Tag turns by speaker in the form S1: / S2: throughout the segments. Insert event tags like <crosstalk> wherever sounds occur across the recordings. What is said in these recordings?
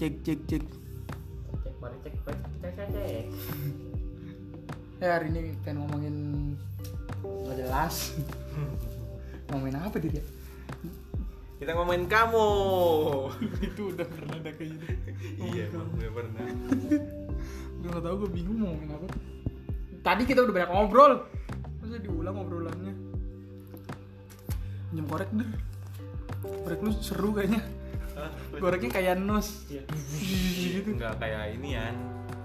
S1: cek cek cek
S2: cek mari cek cek cek cek, cek.
S1: ya hari ini pengen ngomongin nggak <laughs> jelas ngomongin apa ya? dia
S3: Kita ngomongin kamu.
S1: itu udah pernah ada kayak gitu
S3: iya, emang gue pernah.
S1: gue nggak tahu gue bingung mau ngomongin apa tadi kita udah banyak ngobrol masa diulang ngobrolannya jam korek deh korek lu seru kayaknya goreknya kayak nus
S2: Iya.
S1: gitu
S3: Enggak kayak ini ya.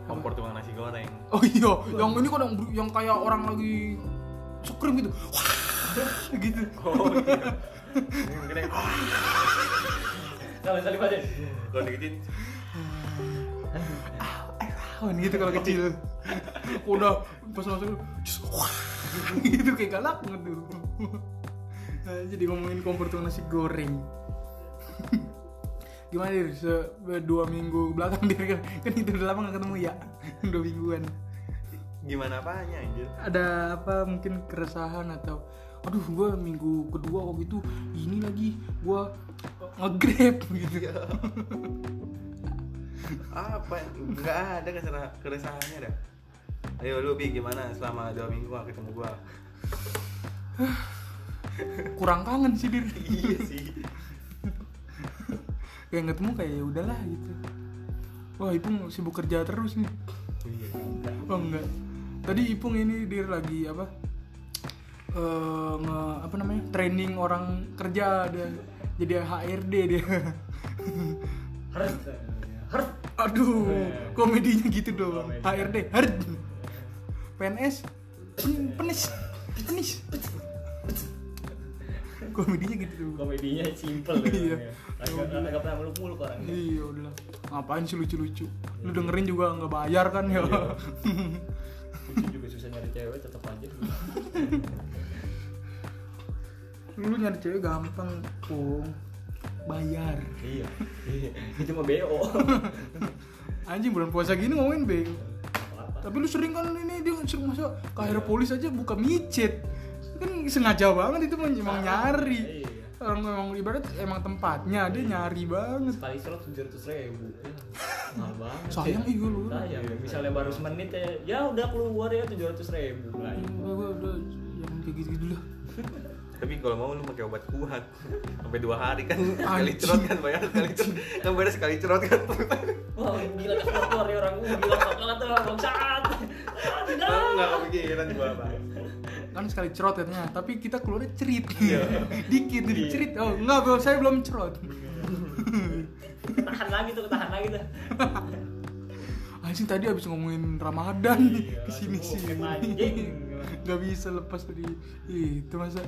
S3: Kompor tukang nasi goreng.
S1: Oh iya, yang ini kan yang, ber- yang kayak orang lagi scream gitu. Wah, gitu.
S3: Oh, iya. Mungkin yang-
S2: Kalau misalnya pada
S3: Kalau dikecil,
S1: Awan gitu kalau kecil. Udah pas masuk just, wah, gitu kayak galak banget tuh. Nah, jadi ngomongin kompor tuh nasi goreng. Gimana dir, se dua minggu belakang dir kan, kan itu udah lama gak ketemu ya Dua mingguan
S3: gimana apanya anjir?
S1: ada apa mungkin keresahan atau aduh gue minggu kedua kok gitu ini lagi gue ngegrab gitu
S3: Apa? Enggak ada keserah, keresahannya dah. Ayo lu Bi gimana selama dua minggu gak ketemu gua?
S1: kurang kangen sih diri
S3: iya sih.
S1: kayak ketemu kayak ya udahlah gitu wah Ipung sibuk kerja terus nih
S3: Iya.
S1: oh enggak tadi Ipung ini dia lagi apa eh, nge- apa namanya training orang kerja dia jadi HRD dia
S2: harus eh, ya. harus
S1: aduh komedinya gitu doang
S2: Komedi.
S1: HRD hard PNS pen- penis penis komedinya gitu doang
S2: komedinya
S1: <laughs>
S2: simple
S1: Iya.
S2: ya. Agak agak pernah ya. meluk-meluk orangnya.
S1: iya udah ngapain sih lucu-lucu lu dengerin juga nggak bayar kan ya
S2: Iya. Lucu juga susah nyari cewek tetap aja.
S1: <laughs> <laughs> lu nyari cewek gampang kong bayar
S2: Iya. Iya. Itu mah BO.
S1: <laughs> anjing bulan puasa gini ngomongin bego
S2: Apa-apa.
S1: tapi lu sering kan ini dia sering masuk ke akhir
S2: Iya.
S1: polis aja buka micet kan sengaja banget itu memang nyari
S2: Iya.
S1: orang memang ibarat emang tempatnya dia nyari banget
S2: Sekali slot tujuh ratus
S1: <laughs>
S2: ribu. Iya. Mahal banget.
S1: sayang
S2: ya.
S1: iya lu
S2: Sayang. Misalnya baru semenit ya, ya udah keluar ya tujuh ratus ribu. Lah, iya.
S1: Gua- gua udah yang kayak gitu gitu lah
S3: Tapi kalau mau lu pakai obat kuat <laughs> sampai dua hari kan sekali
S1: Anjing.
S3: cerot kan bayar sekali cerot kan bayar sekali cerot kan
S2: Wah, gila dah keluar ya orang gua gila banget tuh bangsat. Ah, Tidak.
S3: nggak kepikiran gua apa
S1: kan sekali cerot katanya tapi kita keluarnya cerit
S2: Iya.
S1: <laughs> dikit jadi cerit oh enggak bro saya belum cerot
S2: Tahan lagi tuh, tahan lagi tuh.
S1: anjing tadi abis ngomongin ramadan
S2: Iya,
S1: <laughs> kesini
S2: langsung
S1: sini
S2: bokep, anjing.
S1: nggak bisa lepas dari itu masa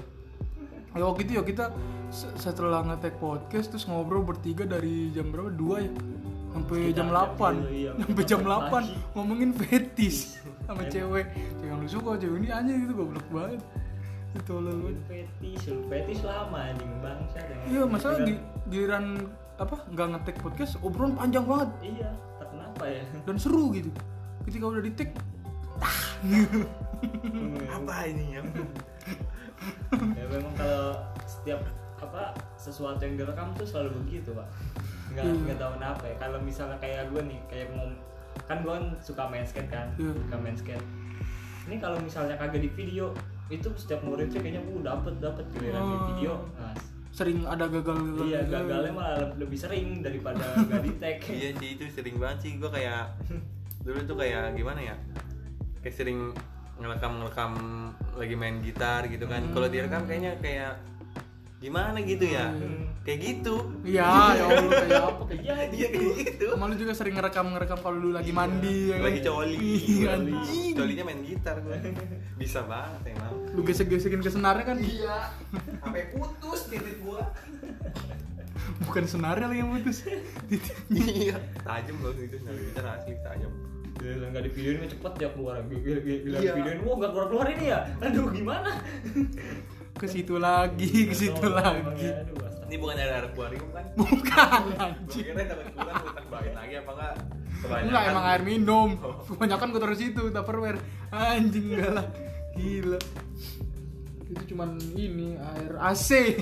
S1: ya waktu itu ya kita se- setelah ngetek podcast terus ngobrol bertiga dari jam berapa dua ya sampai
S2: Sekitar
S1: jam 8
S2: jam dua, iya.
S1: <laughs> sampai jam 8
S2: Pagi. Iya.
S1: ngomongin
S2: <laughs>
S1: fetis sama cewek cewek yang lu suka cewek ini aja gitu goblok banget itu tolol
S2: Iya.
S1: banget
S2: Fetis, fetis lama anjing ya. bangsa dengan-
S1: Iya, masalah
S2: dengan-
S1: di giliran apa nggak ngetek podcast obrolan panjang banget
S2: Iya, tak kenapa ya?
S1: dan seru gitu. Ketika udah di tag,
S3: apa ini ya
S2: Hmm. ya memang kalau setiap apa sesuatu yang direkam tuh selalu begitu, Pak. Enggak
S1: Iya.
S2: enggak tahu kenapa ya. Kalau misalnya kayak gue nih, kayak mau kan gue suka main skate kan,
S1: Iya.
S2: suka main skate. Ini kalau misalnya kagak di video, itu setiap murid tuh kayaknya uh dapet dapet giliran di
S1: Oh.
S2: video. Nah,
S1: sering ada gagal-gagal. gitu.
S2: Iya gagalnya malah lebih sering daripada gak di tag.
S3: iya sih itu sering banget sih gua kayak dulu tuh kayak gimana ya kayak sering ngerekam ngerekam lagi main gitar gitu kan kalau direkam kayaknya kayak gimana gitu ya kayak gitu
S1: Iya, ya Allah kayak apa kayak
S2: Iya
S3: iya kayak gitu
S1: Sama lu juga sering ngerekam ngerekam kalau lu lagi mandi ya kan?
S3: Iya, lagi coli
S1: Iya, anjing.
S3: colinya main gitar gua bisa banget emang
S1: Lu gesek-gesekin ke senarnya kan?
S3: iya sampai putus titik gua
S1: Bukan senarnya lagi yang
S3: <laughs>
S1: putus.
S3: iya tajam loh itu nyari gitar asli tajam
S2: Gila gak di videoin mah cepet ya keluar. Gila, gila, gila
S3: Iya.
S2: di videoin, wah gak keluar keluar ini ya. Aduh gimana?
S1: ke situ lagi, ke
S3: Iya,
S1: situ
S2: Tolong, emang
S1: lagi.
S2: ya. Aduh, astaga.
S3: ini bukan ada akuarium kan
S1: <laughs> Bukan
S3: Gua
S1: anjing.
S3: kira dapat bulan gua tambahin lagi apa enggak kebanyakan
S1: Enggak emang
S3: <laughs>
S1: air minum.
S3: Oh.
S1: Kebanyakan gue taruh situ, tupperware. Anjing galak. Gila. itu cuman ini air AC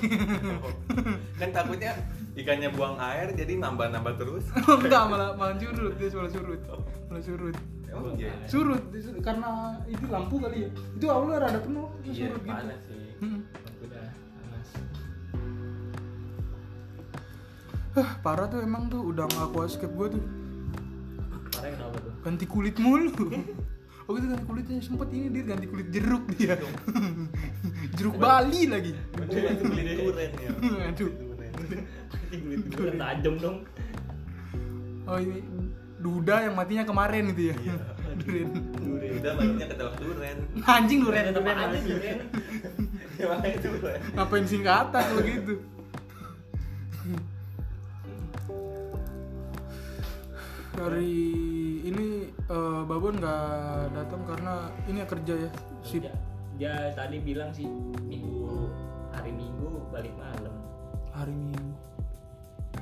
S3: kan takutnya ikannya buang air jadi nambah-nambah terus
S1: <laughs> enggak malah malah surut dia malah surut malah surut
S3: emang iya ya?
S1: surut dis- karena itu lampu kali ya itu awalnya rada penuh terus
S3: iya
S1: surut gitu
S3: panas sih
S1: Hmm.
S2: udah panas
S1: Hah, parah tuh emang tuh udah aku escape gue tuh
S2: parah kenapa tuh
S1: ganti kulit mulu Oh itu ganti kulitnya sempet ini dia ganti kulit jeruk dia <laughs> jeruk Bali lagi
S3: Padahal itu beli durian ya
S1: <laughs> aduh
S2: kulit gue tajam dong
S1: oh ini duda yang matinya kemarin itu ya <laughs> Duren.
S2: durian
S3: udah baginya ketelak durian <laughs>
S1: anjing duren
S2: durian tetap
S1: duren
S2: aja
S1: anjing.
S2: durian
S3: ya makanya durian
S1: ngapain singkatan kalau gitu hari ini eh, babon nggak datang karena ini ya kerja ya sip
S2: dia, dia tadi bilang sih minggu hari minggu balik malam
S1: hari minggu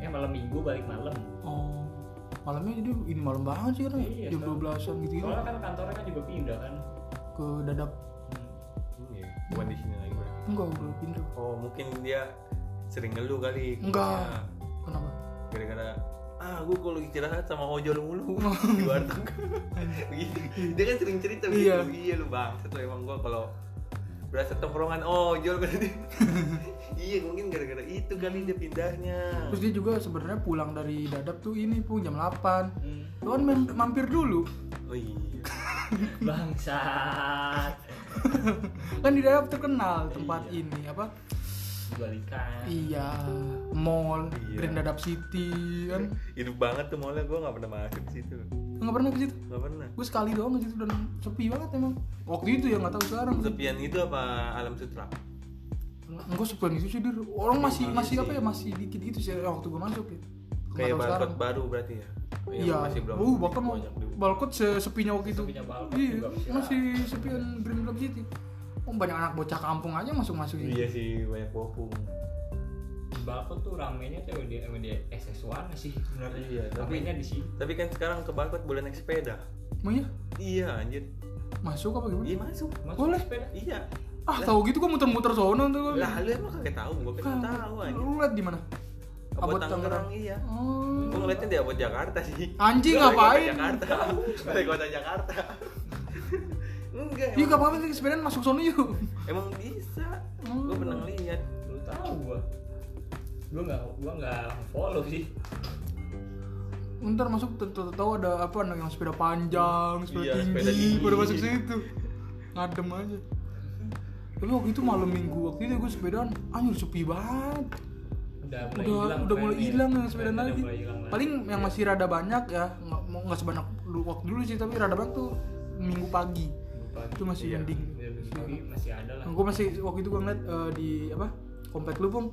S2: eh malam minggu balik malam
S1: oh malamnya jadi ini malam banget sih kan
S2: Iya,
S1: ya jam
S2: sekarang.
S1: 12an gitu gitu
S2: soalnya kan kantornya kan juga pindah kan
S1: ke dadap
S3: iya bukan di sini lagi berarti
S1: enggak udah
S2: Iya.
S1: pindah
S3: oh mungkin dia sering ngeluh kali
S1: enggak
S3: Nah,
S1: kenapa
S3: gara-gara ah gue kalau istirahat sama ojol
S1: <laughs>
S3: mulu di warteg Gitu. dia kan sering cerita
S1: Iya.
S3: gitu iya lu bang satu emang gue kalau berasa tongkrongan ojol kan
S1: <laughs>
S3: dia iya mungkin gara-gara itu kali dia pindahnya
S1: terus dia juga sebenarnya pulang dari dadap tuh ini pun jam 8
S2: hmm.
S1: lu kan mem- mampir dulu <laughs>
S3: oh iya
S2: bangsat
S1: kan di dadap terkenal tempat
S2: Iya.
S1: ini apa
S2: balikan
S1: Iya, mall,
S3: Iya.
S1: Grand Dadap City kan.
S3: hidup banget tuh mallnya gue nggak pernah masuk di situ
S1: Enggak pernah ke situ.
S3: nggak pernah
S1: Gue sekali doang ke situ dan sepi banget emang. Waktu itu ya nggak tahu sekarang.
S3: sepian itu apa alam sutra
S1: Enggak sepi itu sih Dir. Orang masih masih apa ya masih dikit gitu sih waktu gue masuk ya. Nggak
S3: Iya, kayak
S1: tahu
S3: barcode baru berarti ya Yang
S1: Iya.
S3: masih belum
S1: Oh, bahkan mau
S3: banyak dibuka.
S1: balkot sepinya waktu itu.
S2: Sepinya balkot
S1: Iya,
S2: juga masih
S1: masih sepian Grand Dadap City. Oh, banyak anak bocah kampung aja masuk-masuk gitu.
S3: iya sih banyak bokung
S2: Bako tuh ramenya tuh emang di emang di SS1 sih sebenarnya.
S3: Iya, tapi-
S2: ramenya di sini.
S3: tapi kan sekarang ke barcode boleh naik sepeda
S1: Emang ya?
S3: iya anjir
S1: Masuk apa gimana?
S3: iya masuk
S2: Masuk
S1: Boleh.
S2: sepeda.
S3: iya
S1: Ah, tahu gitu gue muter-muter sono tuh.
S3: lah lu emang kagak tahu gue kan nggak tahu anjir
S1: Lu liat di mana?
S3: abot
S1: Abot
S3: Tangerang
S1: Tangerang.
S3: iya
S1: Oh.
S3: gue ngeliatnya di abot Jakarta sih
S1: Anjing,
S3: Gua balik kota
S1: ngapain?
S3: Jakarta <laughs> balik kota Jakarta <laughs> enggak
S1: Yuk
S3: emang,
S1: kapan lagi sepedaan masuk sono yuk.
S3: emang bisa
S1: Hmm.
S3: gue pernah ngeliat
S2: Lu tahu gua. Gua enggak gua enggak follow sih.
S1: Ntar masuk tahu ada apa anak yang sepeda panjang, sepeda
S3: Iya,
S1: tinggi,
S3: sepeda tinggi.
S1: baru masuk situ. Ngadem aja. Tapi waktu itu malam minggu waktu itu gue sepedaan, anjir sepi banget.
S2: Udah mulai
S1: Udah
S2: hilang.
S1: udah mulai
S2: trennya.
S1: hilang yang sepedaan
S2: Udah
S1: lagi.
S2: mulai hilang lagi.
S1: Paling yang masih rada banyak ya, nggak mau nggak sebanyak dulu waktu dulu sih, tapi rada banyak tuh minggu pagi.
S2: Lupa.
S1: Itu masih
S3: Iya.
S1: mending.
S2: Ya, tapi masih ada lah.
S1: gue masih waktu itu gue ngeliat eh, di apa komplek lu Pung,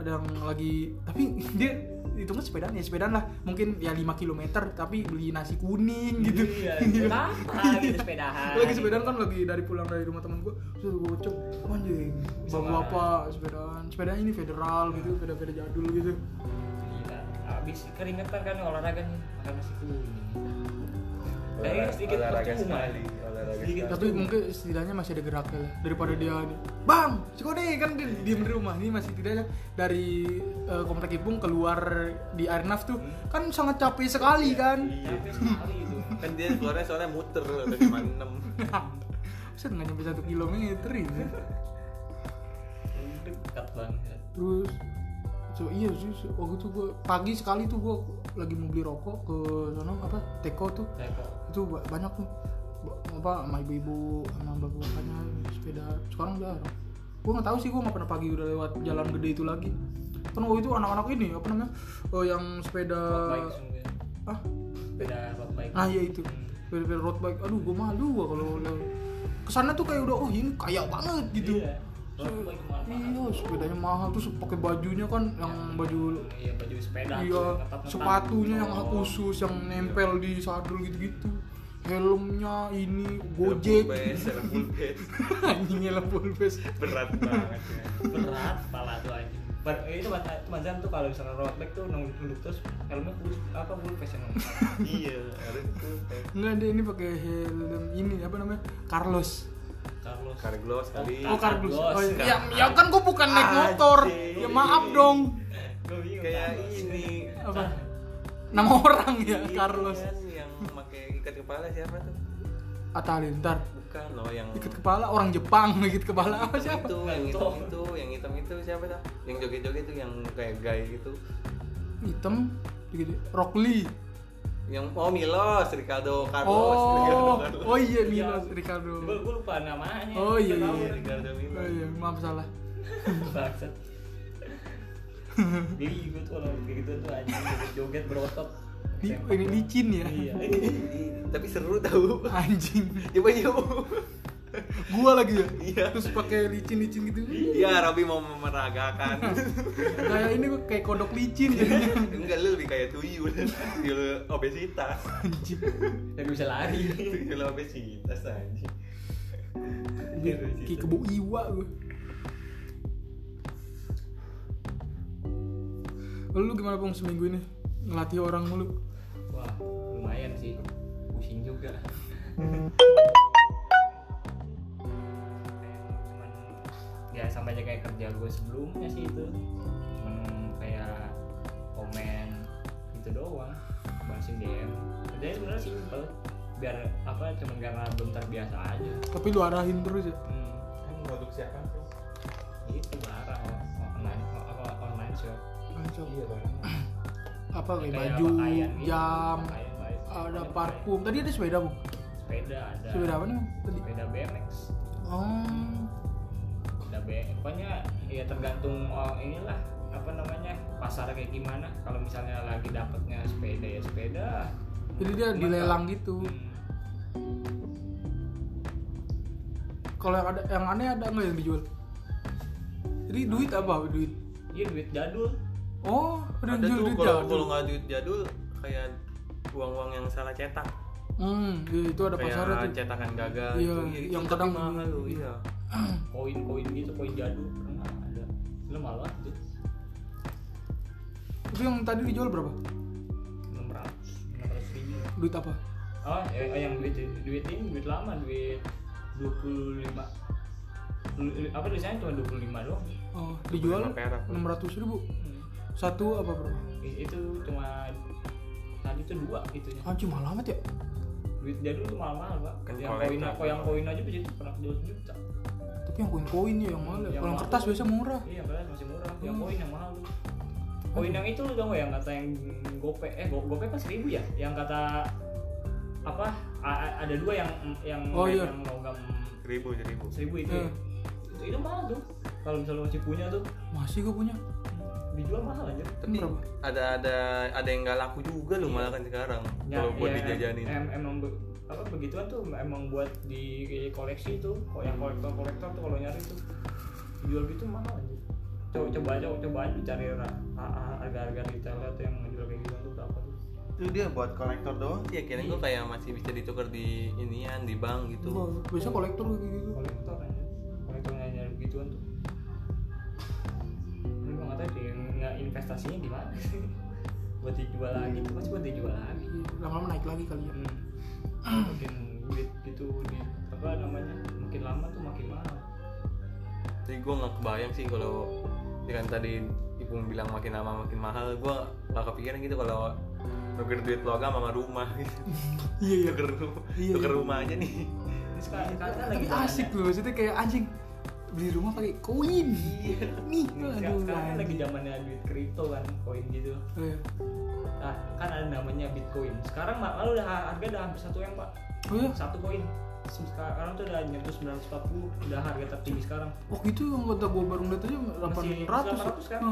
S1: ada yang lagi tapi <laughs> dia itu kan sepedaan ya sepedaan lah mungkin ya 5 km tapi beli nasi kuning gitu Iya.
S2: Iya,
S1: <laughs>
S2: kenapa gitu sepedahan?
S1: lagi sepedaan kan lagi dari pulang dari rumah temen gue terus gue cek anjing
S2: Bisa Iya.
S1: bang
S2: marah.
S1: bapak sepedaan sepeda ini federal gitu sepeda sepeda jadul gitu
S2: Gila. Habis keringetan kan olahraga nih, makan nasi kuning. Kayaknya sedikit
S3: olahraga
S2: percuma.
S3: sekali, olahraga
S2: Sedikit
S3: sekali.
S1: tapi mungkin setidaknya masih ada geraknya lah daripada dia ini bang si kode kan dia diem di rumah ini masih tidak dari eh, komplek Ipung keluar di Airnav tuh kan sangat capek sekali kan <laughs>
S2: Capek sekali itu.
S3: kan dia keluarnya soalnya muter udah cuma
S1: <laughs>
S3: enam
S1: bisa nggak nyampe satu kilometer ini
S2: Dekat banget.
S1: terus so, iya sih so- waktu itu gue pagi sekali tuh gue lagi mau beli rokok ke sana apa teko tuh
S2: Kayak kok
S1: itu ba- banyak tuh Ba- apa sama ibu-ibu sama bapak-bapaknya sepeda sekarang jarang gue nggak tahu sih gue nggak pernah pagi udah lewat jalan gede itu lagi kan waktu itu anak-anak ini apa namanya eh, yang sepeda
S2: baik sungguh.
S1: ah
S2: Sepeda road bike. Hmm.
S1: ah iya itu sepeda road bike aduh gue malu gue kalau lewat kesana tuh kayak udah oh ini kaya banget gitu
S2: Iya. Road bike mahal.
S1: iya sepedanya mahal terus pakai bajunya kan yang baju
S2: Iya baju sepeda.
S1: iya
S2: tuh, ketat-ketat.
S1: sepatunya yang
S2: Oh.
S1: khusus yang
S3: Iya.
S1: nempel di sadel gitu-gitu helmnya ini
S3: Full
S1: gojek <laughs>
S3: base, dalam full base.
S1: anjingnya lah full face
S3: berat banget ya.
S2: berat pala tuh anjing. Bar- itu mata- Mazan tuh kalau misalnya road bike tuh nunduk nunduk terus helmnya full apa full fashion
S3: iya harus full base.
S1: enggak dia ini pakai helm ini apa namanya Carlos
S2: Kalau Carlos.
S3: Carglass kali.
S1: Oh, kardus. Oh, iya. ya,
S3: Kardus.
S1: ya kan gua bukan naik motor.
S3: Anjing.
S1: Ya maaf dong.
S2: Eh, Gua bingung.
S3: Kayak
S2: Carlos.
S3: ini.
S1: Apa? Nama orang ya
S3: Ini
S1: Carlos.
S3: kan yang pakai ikat kepala siapa tuh?
S1: Atta Halilintar.
S3: Bukan loh yang
S1: Ikat kepala orang Jepang <laughs> ikat kepala apa siapa?
S3: itu yang hitam itu yang hitam itu siapa tuh yang joget-joget itu yang kayak gay gitu
S1: Hitam gede Rock Lee.
S3: yang oh Milos Ricardo Carlos Ricardo
S1: Oh,
S3: Carlos.
S1: oh iya
S2: Iya.
S1: Milos
S2: Gua
S1: Ricardo.
S2: gua lupa namanya.
S1: Oh iya
S2: Gua tahu.
S1: iya. <laughs>
S3: Ricardo Milos.
S1: Oh iya, maaf salah. <laughs>
S2: Bangsat. Geli gue tuh kalau kayak gitu tuh anjing joget berotot.
S1: Di, ini licin ya.
S2: Iya.
S3: Ih, tapi seru tahu
S1: <laughs> Anjing.
S3: coba yuk
S1: Gua lagi ya.
S3: Iya.
S1: Terus pakai licin-licin gitu.
S3: ya Robby mau memeragakan
S1: Kayak Nah, ini gua kayak kodok licin jadinya.
S3: enggak lu lebih kayak tuyul tuyul obesitas
S1: Anjing.
S2: Tapi bisa lari.
S3: tuyul obesitas anjing
S1: Kayak kebo iwa gua. Lu gimana pong seminggu ini? Ngelatih orang mulu.
S2: Wah, lumayan sih. Pusing juga. Cuman ya sama aja kayak kerja gue sebelumnya sih itu. Cuman kayak komen gitu doang, balesin DM. Kerjanya sebenarnya simpel biar apa cuman karena belum terbiasa aja.
S1: Tapi lu arahin terus ya.
S2: Hmm,
S3: produk siapa
S2: itu barang Oh, online apa online shop.
S1: Kacau.
S3: iya barang
S1: <clears throat> Apa kayak
S2: Kayak
S1: baju,
S2: pakaian gitu,
S1: jam,
S2: pakaian, baju.
S1: ada parfum. Tadi ada sepeda, Bung.
S2: Sepeda ada.
S1: Sepeda apa nih? Bung, Tadi.
S2: Sepeda BMX.
S1: Oh.
S2: udah be pokoknya ya tergantung oh, inilah apa namanya pasar kayak gimana kalau misalnya lagi dapatnya sepeda ya sepeda
S1: Jadi dia
S2: Cuman
S1: dilelang gitu.
S2: hmm,
S1: Kalau yang ada yang aneh ada nggak yang dijual? Jadi duit apa duit?
S2: iya duit jadul
S1: Oh, ada yang
S3: ada
S1: jual
S3: tuh
S1: duit
S3: kalau
S1: jadul.
S3: kalau nggak duit jadul kayak uang-uang yang salah cetak
S1: Hmm, iya, itu ada pasarnya
S3: kayak
S1: tuh.
S3: cetakan gagal
S1: Iya,
S3: gitu.
S1: yang
S3: Tapi
S1: kadang-
S3: mahal loh iya
S2: koin koin gitu koin jadul pernah ada lu malu ah, aja
S1: Itu yang tadi dijual berapa?
S2: enam ratus enam ratus ribu
S1: Duit apa?
S2: oh ya- oh, yang duit duit ini duit lama duit dua puluh lima apa tulisannya cuma dua puluh lima doang
S1: Oh, dijual
S3: 25 perak.
S1: enam ratus ribu.
S2: Hmm.
S1: Satu apa berapa?
S2: I- itu cuma tadi itu dua itunya
S1: Anjing mahal amat ya?
S2: duit jadul tuh mahal-mahal pak
S3: Kan
S2: yang koin
S3: kolektor.
S2: apa yang koin aja bisa pernah jual juta
S1: Tapi yang koin-koin ya yang mahal. ya.
S2: Yang
S1: Kalau yang
S2: mahal.
S1: kertas biasa murah.
S2: iya padahal masih murah yang
S1: Hmm.
S2: koin yang mahal tuh koin yang itu lu tau gak yang kata yang gope eh go, gope pas seribu ya yang kata apa a- a- ada dua yang yang
S1: Oh, iya.
S2: yang logam
S3: seribu seribu
S2: seribu itu
S1: Iya.
S2: ya. itu, itu mahal tuh kalau misalnya lu masih punya tuh
S1: Masih gue punya.
S2: dijual mahal aja
S3: tapi
S1: Berapa?
S3: ada ada ada yang nggak laku juga loh malah kan sekarang
S2: Ya,
S3: kalau buat
S2: ya,
S3: dijajanin
S2: em- emang be- apa begituan tuh emang buat di koleksi tuh kok yang kolektor kolektor tuh kalau nyari tuh jual gitu mahal aja coba coba aja coba aja cari ra- a- a- harga-harga retailnya tuh yang ngejual kayak gitu tuh berapa tuh
S4: itu dia buat kolektor doang
S3: ya kira gue kayak masih bisa ditukar di inian di bank gitu
S1: Gua- Biasa kolektor kayak gitu.
S2: kolektor aja kolektor yang nyari begituan tuh Tapi gua nggak tahu deh nggak investasinya gimana <laughs> buat dijual lagi tuh pasti buat dijual lagi
S1: Iya, Lama-lama naik lagi kali ya.
S2: Hmm. makin duit gitu di apa namanya makin lama tuh makin mahal
S3: jadi gue nggak kebayang sih kalau ya kan tadi Ipung bilang makin lama makin mahal gue nggak kepikiran gitu kalau nuker duit logam sama rumah <laughs> gitu
S1: Iya iya.
S3: tuker, ru-
S1: Iya,
S3: tuker
S1: iya.
S3: rumah aja nih
S2: Ini sekarang sekarang kan
S1: Tapi
S2: lagi
S1: Iya, asik loh, maksudnya kayak anjing beli rumah pakai koin. Nih,
S2: zamannya-
S1: aduh.
S2: Iya. sekarang, sekarang kan lagi
S1: anjing.
S2: zamannya duit kripto kan koin gitu
S1: Eh.
S2: nah kan ada namanya bitcoin sekarang mak lalu udah harga udah hampir satu m pak
S1: Oh ya,
S2: satu koin sekarang tuh udah nyentuh 940 udah harga tertinggi sekarang
S1: waktu itu yang kata gue baru ngeliat aja 800
S2: 800
S1: ya?
S2: kan
S1: Heeh.
S2: sekarang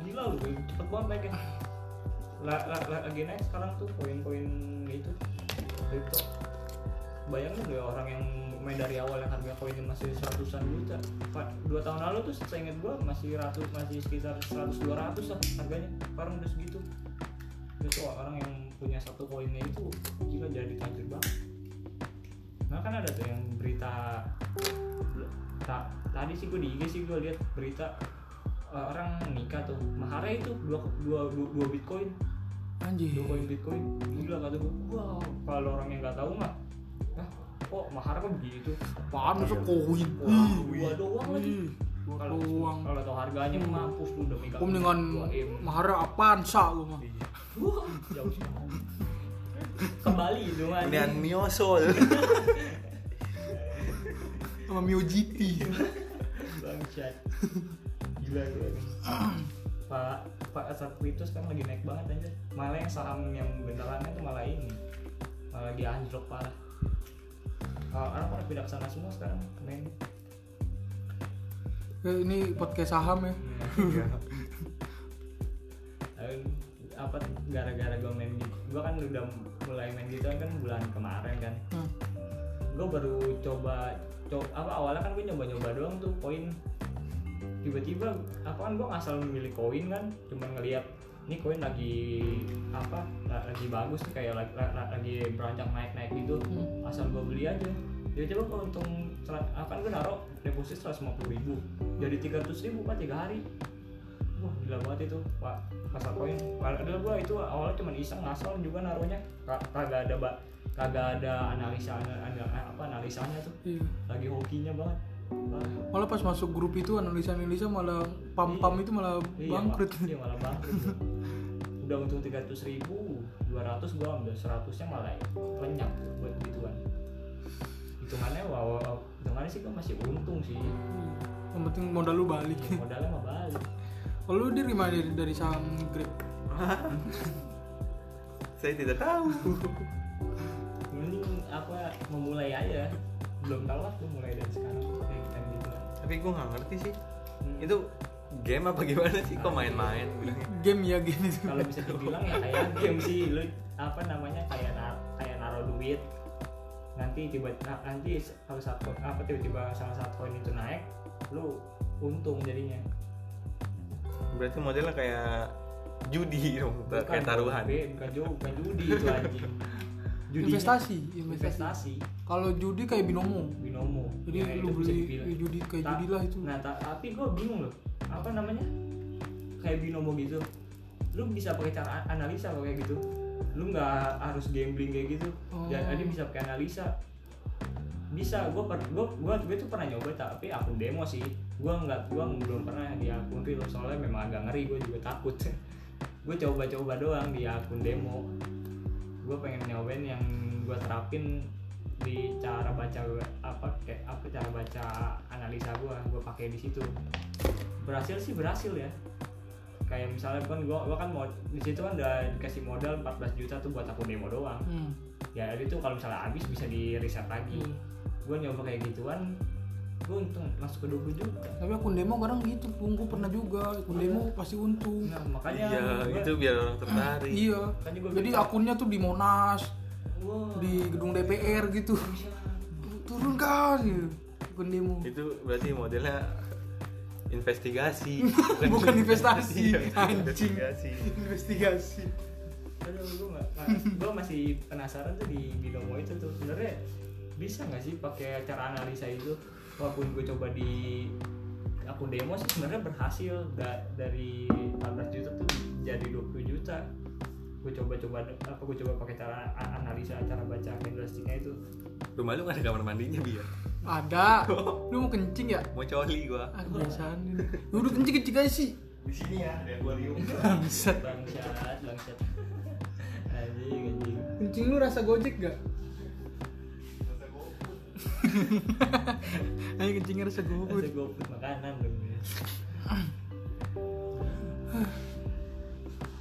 S2: 940 gila loh coy. cepet banget naiknya la, la, la, lagi naik sekarang tuh koin-koin itu kripto bayangin loh ya orang yang main dari awal yang harga koinnya masih seratusan juta Pak, dua tahun lalu tuh seinget gua masih ratus masih sekitar 100 200 lah harganya sekarang udah segitu itu orang yang punya satu koinnya itu gila jadi tajir banget nah kan ada tuh yang berita Ta- tadi sih gue di IG sih gue lihat berita uh, orang nikah tuh maharnya itu dua, dua, dua, dua bitcoin
S1: Anjir.
S2: dua koin bitcoin gila kata gue wow kalau orang yang nggak tahu mah ah kok maharnya kok begitu
S1: Apaan masa koin?
S2: wah dua doang lagi
S1: Ih, buat
S2: kalau
S1: doang.
S2: kalau tau harganya mampus lu udah megang
S1: Aku mendingan mahara apaan sa lu mah.
S2: Iya. Wah, jauh sih
S1: <laughs>
S2: kembali itu kan
S3: Mendingan miosol.
S1: Sama Mio GT.
S2: bangsat gila gue pak pak satu itu sekarang lagi naik banget aja malah yang saham yang bentarannya tuh malah ini malah lagi anjlok parah Kalau orang pada pindah ke sana semua sekarang main
S1: Ya, ini podcast saham ya.
S2: <laughs> Eh, apa gara-gara gue main gitu gue kan udah mulai main gitu kan bulan kemarin kan
S1: Nah,
S2: gue baru coba coba apa awalnya kan gue nyoba-nyoba doang tuh koin tiba-tiba apa kan gue ngasal milih koin kan cuman ngelihat ini koin lagi apa la- lagi bagus nih kayak la- la- la- lagi beranjak naik-naik gitu
S1: Hmm.
S2: asal gue beli aja tiba-tiba gue untung sera- apa kan gue naruh deposit 150 ribu jadi 300 ribu kan tiga hari wah gila banget itu pak pasar koin padahal gue itu awalnya cuman iseng ngasal juga naruhnya Ka- kagak ada ba- kagak ada analisa ana- ana- apa analisanya tuh
S1: iya.
S2: lagi hokinya banget Wah,
S1: Malah pas masuk grup itu analisa-analisa malah pam-pam itu malah
S2: iya,
S1: bangkrut.
S2: Mak. iya malah bangkrut gua. udah untung 300 ribu 200 gue ambil 100 nya malah lenyap buat gituan hitungannya wow, wow, wow. hitungannya sih gue masih untung sih
S1: Yang penting modal lu balik.
S2: Iya, modalnya mah balik
S1: Kalau lu diterima dari, dari saham Grab.
S3: Saya tidak tahu.
S2: mending apa memulai aja belum tahu lah tuh mulai dari sekarang kayak kita gitu lah.
S3: Tapi gue nggak ngerti sih.
S2: Hmm.
S3: Itu game apa gimana sih? Kok main-main?
S1: Game ya game itu.
S2: kalau bisa dibilang ya
S3: <laughs>
S2: kayak game sih lu apa namanya kayak na kayak naruh duit nanti tiba na- nanti s- kalau satu apa tiba-tiba salah satu koin itu naik lu untung jadinya
S3: Berarti modelnya kayak judi dong, kayak taruhan.
S2: bukan, bukan, ju- bukan judi itu anjing Judinya-
S1: Investasi, investasi.
S2: investasi
S1: Kalau judi kayak binomo.
S2: binomo
S1: Jadi
S2: Ya, itu
S1: lu
S2: bisa
S1: beli
S2: dibilang.
S1: eh, judi kayak
S2: Ta-
S1: judi lah itu.
S2: Nah, ta- tapi gue bingung loh. Apa namanya? Kayak binomo gitu. Lu bisa pakai cara a- analisa kok kayak gitu. Lu nggak harus gambling kayak gitu.
S1: Oh.
S2: Dan ada bisa pakai analisa. Bisa, gue per, gua, gua, gua tuh pernah nyoba tapi akun demo sih. Gue nggak, gua belum pernah di akun real soalnya memang agak ngeri. Gue juga takut. <laughs> gue coba-coba doang di akun demo. Gue pengen nyobain yang gue terapin di cara baca apa kayak apa cara baca analisa gua gua pakai di situ berhasil sih berhasil ya kayak misalnya kan gua, gua kan mau di situ kan udah dikasih modal 14 juta tuh buat akun demo doang
S1: Hmm.
S2: ya itu kalau misalnya habis bisa di reset lagi
S1: Iya.
S2: gua nyoba kayak gituan gua untung masuk ke 20 juta
S1: Tapi akun demo kadang gitu, Bung. Gua pernah juga akun demo pasti untung.
S2: nah makanya
S3: Iya,
S2: gua-
S1: gitu.
S3: itu biar orang tertarik.
S1: Iya.
S2: makanya gua
S1: Jadi
S2: bilang,
S1: akunnya tuh di Monas,
S2: "Wah,
S1: di gedung DPR gitu. Turun kan gitu. Akun demo.
S3: Itu berarti modelnya investigasi.
S1: Bukan investasi,
S3: Iya,
S1: anjing.
S3: Investigasi.
S1: Investigasi.
S2: aduh gue nggak gue masih penasaran tuh di binomo itu tuh sebenarnya bisa nggak sih pakai cara analisa itu walaupun gue coba di akun demo sih sebenarnya berhasil da- dari 14 juta tuh jadi 20 juta gue coba-coba apa gue coba pakai cara a- analisa cara baca candlesticknya itu
S3: Rumah lu nggak ada kamar mandinya biar.
S1: Ada. Lu mau kencing ya?
S3: Mau coli gua.
S1: Ah, kebiasaan ini. Udah kencing-kencing aja sih.
S4: Di sini ya, di akuarium.
S1: Bangsat.
S2: bangsat bangsat anjing anjing
S1: Kencing lu rasa gojek gak? <laughs> Ayo kencingnya rasa
S2: Masa
S1: gofood
S2: gue put makanan dong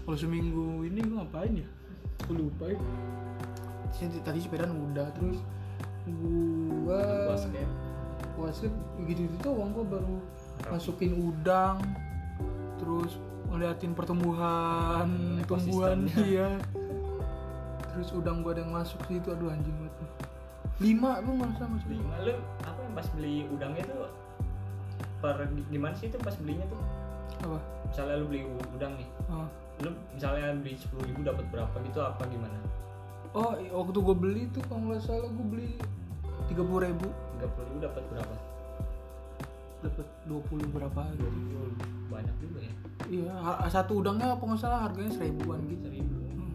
S1: Kalau seminggu ini gue ngapain ya? Gue lupa ya Sini- Tadi sepedaan udah Terus gue
S2: basket
S1: Basket gitu-gitu doang gue baru Masukin udang Terus ngeliatin pertumbuhan
S2: Hmm,
S1: Tumbuhan
S2: ekosistemnya.
S1: dia Terus udang gue ada yang masuk situ Aduh anjing banget nih. Lima lu masa masuk
S2: lima lu apa yang pas beli udangnya tuh per gimana sih itu pas belinya tuh
S1: Apa?
S2: misalnya lu beli u- udang nih
S1: Ah.
S2: lu misalnya beli sepuluh ribu dapat berapa gitu apa gimana
S1: Oh, i- waktu gue beli tuh kalau nggak salah gue beli tiga puluh ribu,
S2: tiga puluh ribu dapat berapa
S1: dapat dua puluh berapa
S2: dua
S1: gitu.
S2: ribu banyak juga ya
S1: Iya, ha- satu udangnya kalau nggak salah harganya seribuan gitu.
S2: seribu
S1: Hmm.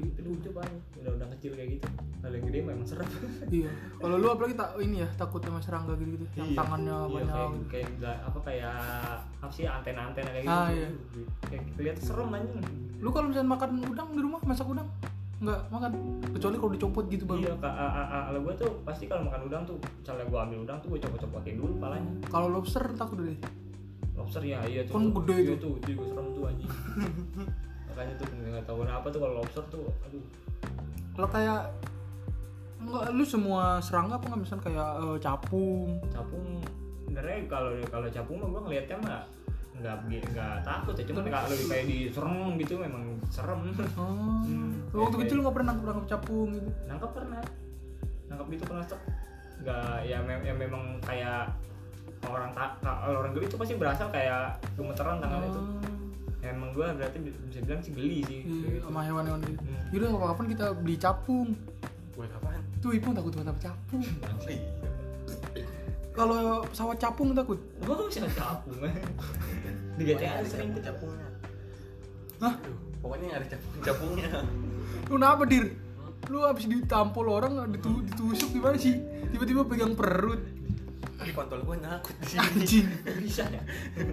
S1: Beli.
S2: itu lucu banget udah udah kecil kayak gitu kalau yang gede memang serem
S1: iya kalau lu apalagi tak ini ya takut sama serangga gitu gitu yang
S4: Iya.
S1: tangannya
S2: Iya,
S1: banyak
S2: kayak,
S1: gitu.
S2: kayak nggak- apa kayak apa sih antena-antena kayak gitu
S1: Ah, iya.
S2: kayak kelihatan serem anjing
S1: lu kalau misalnya makan udang di rumah masak udang nggak makan kecuali kalau dicopot gitu baru
S2: Iya, ka- a- a- a- kalau gue tuh pasti kalau makan udang tuh, misalnya gue ambil udang tuh gue copot-copotin dulu palanya.
S1: kalau lobster takut deh
S2: Lobster ya, iya tuh.
S1: Kan gede itu.
S2: Iya tuh, itu juga serem tuh
S1: <laughs>
S2: anjing. Makanya tuh nggak tahu kenapa tuh kalau lobster tuh, aduh.
S1: kalau kayak nggak lu semua serangga apa nggak misalnya kayak eh, capung
S2: Capung, sebenarnya kalau kalau capung mah gue ngeliatnya mah nggak begi- nggak takut ya, cuman kalau kayak di serem gitu memang serem. <laughs>
S1: oh
S2: Hmm.
S1: Lu waktu
S2: Kayak-
S1: kecil nggak pernah nangkep nangkep capung gitu
S2: Nangkep pernah, nangkep itu pernah sek. Nggak, ya, mem- ya memang kayak orang tak orang geli itu pasti berasal kayak gemeteran tangan Nah, itu. emang gue berarti bi- bisa bilang sih geli
S1: Oh.
S2: sih
S1: Iya,
S2: kayak gitu.
S1: sama hewan-hewan gitu
S2: Hmm.
S1: yaudah kapan-kapan kita beli capung
S3: buat apaan Iya.
S1: tuh ipung takut banget sama capung kalau pesawat capung takut
S2: gue kok kan bisa capung di GTA ada sering tuh capung
S4: capungnya.
S1: hah
S3: aduh pokoknya ada capung capungnya
S1: lu kenapa dir lu abis ditampol orang ditu- ditusuk gimana sih tiba-tiba pegang perut
S3: ini kontol gue nyakut sih
S1: anjing
S2: bisa ya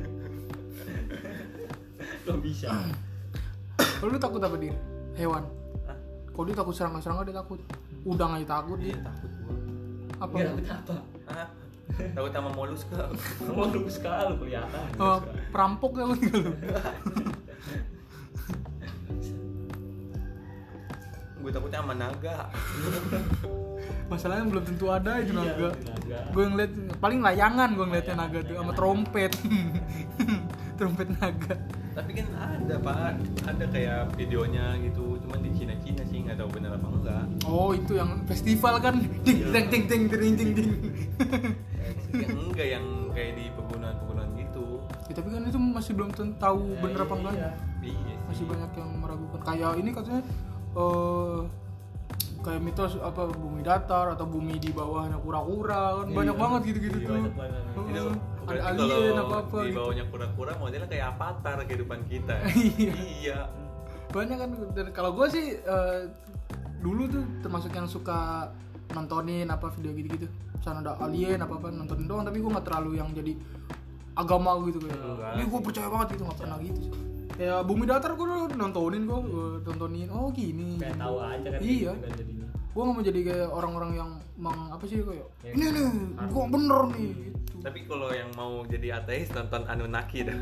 S2: <laughs> lo bisa
S1: kalau lu takut apa dir hewan
S3: Hah?
S1: kalau dia takut serangga-serangga dia takut udang aja takut
S3: iya
S1: dia
S3: takut gue
S1: apa
S2: nggak dapet apa
S3: ah takut sama molus ke
S2: kamu lu sekali lu kelihatan
S1: Eh, perampok takut nggak lu
S3: gue takutnya sama naga
S1: masalahnya belum tentu ada itu
S2: Iya,
S1: naga
S2: naga
S1: gue ngeliat paling layangan gue ngeliatnya naga tuh sama trompet <laughs> trompet naga
S3: tapi kan ada pak ada kayak videonya gitu cuman di Cina Cina sih nggak tahu bener apa enggak
S1: oh itu yang festival kan ding
S2: Iya.
S1: ding ding ding ding ding ding <laughs>
S3: yang Iya, enggak yang kayak di pegunungan pegunungan gitu
S1: ya, tapi kan itu masih belum tentu tahu bener apa enggak
S2: Iya.
S3: iya sih
S1: masih banyak yang meragukan kayak ini katanya eh kayak mitos apa bumi datar atau bumi di bawahnya kura-kura kan banyak banget gitu-gitu
S2: Iya,
S1: tuh
S2: banyak
S1: Heeh,
S2: banget.
S3: itu
S1: ada
S3: Gitu. berarti
S1: alien
S3: kalau
S1: apa apa
S3: di
S1: gitu
S3: bawahnya kura-kura modelnya kayak avatar kehidupan kita
S1: <laughs> Iya.
S3: iya
S1: banyak kan dan kalau gue sih eh, dulu tuh termasuk yang suka nontonin apa video gitu-gitu misalnya ada alien apa apa nontonin doang tapi gue nggak terlalu yang jadi agama gitu kayak
S3: Enggak
S1: ini
S2: Iya.
S1: gue percaya banget gitu nggak pernah gitu sih. ya bumi datar gue nontonin gue nontonin oh gini
S2: kayak tahu aja kan
S1: Iya.
S2: gitu kan jadinya
S1: gue gak mau jadi kayak orang-orang yang meng apa sih kayak
S2: Ya.
S1: ini nih gue bener nih gitu.
S3: tapi kalau yang mau jadi ateis nonton Anunnaki dah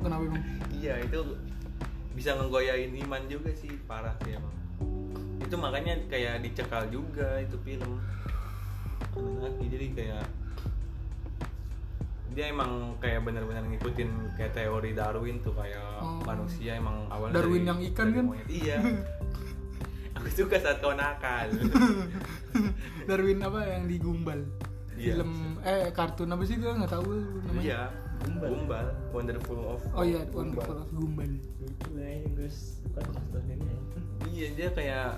S1: kenapa emang
S3: iya itu bisa ngegoyain iman juga sih parah sih emang itu makanya kayak dicekal juga itu film Anunnaki jadi kayak dia emang kayak benar-benar ngikutin kayak teori Darwin tuh kayak
S1: Oh.
S3: manusia emang awalnya
S1: Darwin
S3: dari-
S1: yang ikan
S3: dari
S1: kan?
S3: monyet.
S1: <laughs>
S3: iya aku suka saat kau nakal
S1: Darwin apa yang di Gumbal
S3: Iya.
S1: film eh kartun apa sih gue nggak tahu namanya
S3: iya
S2: Gumbal.
S3: Gumbal Wonderful of
S1: oh iya
S3: Gumbal.
S1: Wonderful of Gumbal
S2: lucu lah ya guys kan nonton ini
S3: Iya dia kayak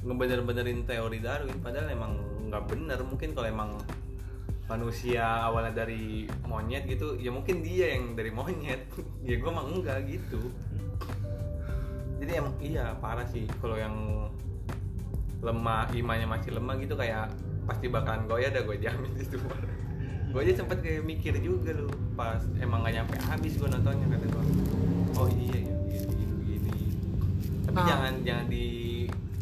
S3: ngebener-benerin teori Darwin padahal emang nggak bener mungkin kalau emang manusia awalnya dari monyet gitu ya mungkin dia yang dari monyet <laughs> ya gue emang enggak gitu jadi emang iya parah sih kalau yang lemah imannya masih lemah gitu kayak pasti bakalan goyah dah gue jamin itu gue aja sempet kayak mikir juga loh pas emang gak nyampe habis gue nontonnya kata gue oh iya ya begini begini begini tapi
S1: Nah.
S3: jangan jangan di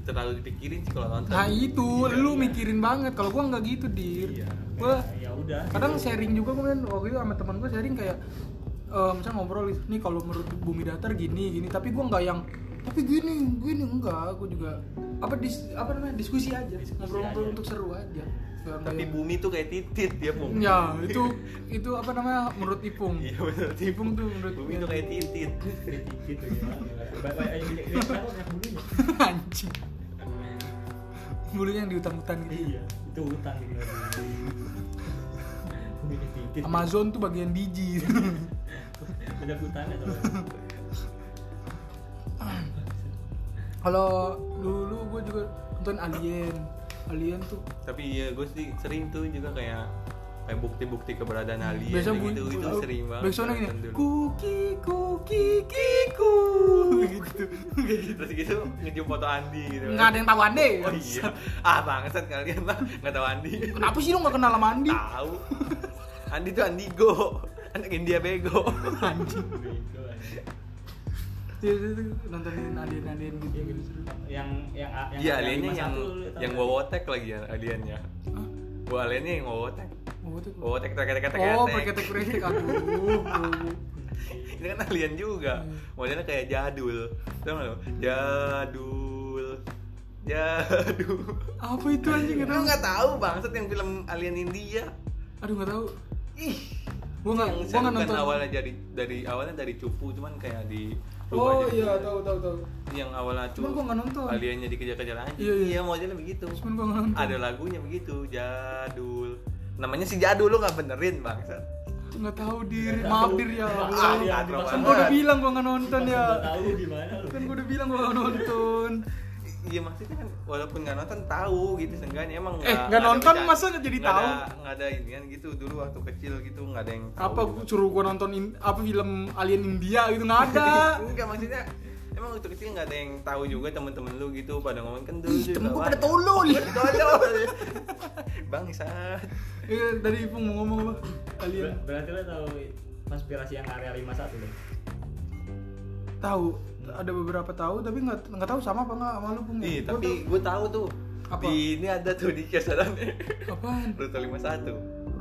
S3: terlalu dipikirin sih kalau nonton
S1: nah itu
S3: Iya,
S1: lu
S3: iya.
S1: mikirin banget kalau gue nggak gitu dir
S3: Iya.
S1: gue
S2: ya udah
S1: kadang sharing juga gue kan waktu itu sama teman gue sharing kayak eh misalnya ngobrol nih kalau menurut bumi datar gini gini tapi gue nggak yang tapi gini gini enggak gue juga apa dis, apa namanya diskusi aja ngobrol-ngobrol
S2: aja.
S1: untuk seru aja Nggak- nggak
S3: tapi
S1: yang-
S3: bumi tuh kayak titit ya pung
S1: ya
S3: <laughs>
S1: itu itu apa namanya menurut Ipung
S3: iya bener
S1: Ipung tuh menurut
S3: bumi tuh kayak titit
S2: dikit gimana Ba- ba- ayo, ini- ini kenapa banyak bulunya?
S1: <laughs> anjing bulunya yang di hutan-hutan gitu
S2: iya itu utang gitu Bumi dikit
S1: Amazon tuh bagian
S3: <laughs>
S1: biji
S2: udah hutannya tuh
S1: kalau dulu gue juga nonton Alien Alien tuh
S3: ya, tapi iya gue sih sering tuh juga kayak kayak bukti-bukti keberadaan alien
S1: biasa bunyi
S3: gitu itu sering banget
S1: backsoundnya gini
S3: nonton <laughs> dulu.
S1: kuki kuki kiku
S3: <laughs>
S1: gitu
S3: terus gitu ngejum foto Andi gitu kan.
S1: nggak ada yang tahu ande
S3: <laughs> oh iya ah bangsat kalian lah nggak tahu Andi
S1: kenapa sih lu nggak kenal sama Andi
S3: tahu Andi tuh Andi go anak India bego
S1: Iya, iya, iya. nontonin alien alien gitu
S2: yang yang yang
S3: iya aliennya yang
S2: 51 lu tau
S3: yang
S2: nggak?
S3: wowotek lagi ya aliennya
S1: Hah?
S3: gua aliennya yang wowotek
S1: oh itu
S3: wowotek tek tek tek
S1: oh
S3: tek.
S1: pakai tek kristik aduh
S3: ini kan alien juga
S1: Hmm.
S3: modelnya kayak jadul tau nggak lo? jadul jadul
S1: apa itu anjing
S3: lu
S1: aduh
S3: nggak tahu bangsat yang film alien India
S1: aduh nggak tahu
S3: ih
S1: gua nggak
S3: yang
S1: gua nggak
S3: bukan
S1: nonton
S3: awalnya dari dari awalnya dari cupu cuman kayak di
S1: oh
S3: rubah jadi-
S1: iya tahu tahu tahu
S3: yang awalnya cupu
S1: Cuman gua nggak nonton.
S3: aliennya dikejar-kejar anjing
S1: Iya, iya.
S3: modelnya begitu
S1: cuman gua nggak nonton
S3: ada lagunya begitu jadul namanya si jadul lu nggak benerin bangsat
S1: nggak tahu diri maaf diri ya
S2: Maaf,
S1: Allah.
S2: ya,
S3: dipaksa
S1: kan gua udah
S3: banget.
S1: bilang gua nggak nonton
S2: Pas
S1: ya
S2: gua tahu gimana lu
S1: kan gua udah bilang gua nggak nonton
S3: Iya maksudnya kan walaupun nggak nonton tahu gitu seenggaknya emang
S1: Eh, nggak
S3: ada
S1: nonton
S3: bercanda-
S1: masa nggak jadi
S3: nggak
S1: tahu?
S3: ada, nggak ada ini kan gitu dulu waktu kecil gitu nggak ada yang tahu
S1: apa
S3: gitu.
S1: suruh gua nonton in- apa film alien India gitu nggak
S3: <laughs>
S1: ada
S3: enggak maksudnya emang waktu kecil nggak ada yang tahu juga temen-temen lu gitu pada ngomong kan dulu
S1: Ih, temen
S3: juga
S1: gua
S3: ada."
S1: pada tolol.
S3: Pada tolol <laughs> bangsat
S1: Eh, dari Ipung mau ngomong apa alien
S2: Ber- berarti lu tahu konspirasi yang area 51 deh
S1: tahu ada beberapa tahu tapi nggak nggak tahu sama apa nggak sama lu Pung?
S3: nih
S1: Iya, Gua
S3: tapi gue tahu tuh
S1: Apa?
S3: di ini ada tuh di <laughs> kisaran
S1: tahu. apaan Iya,
S3: rute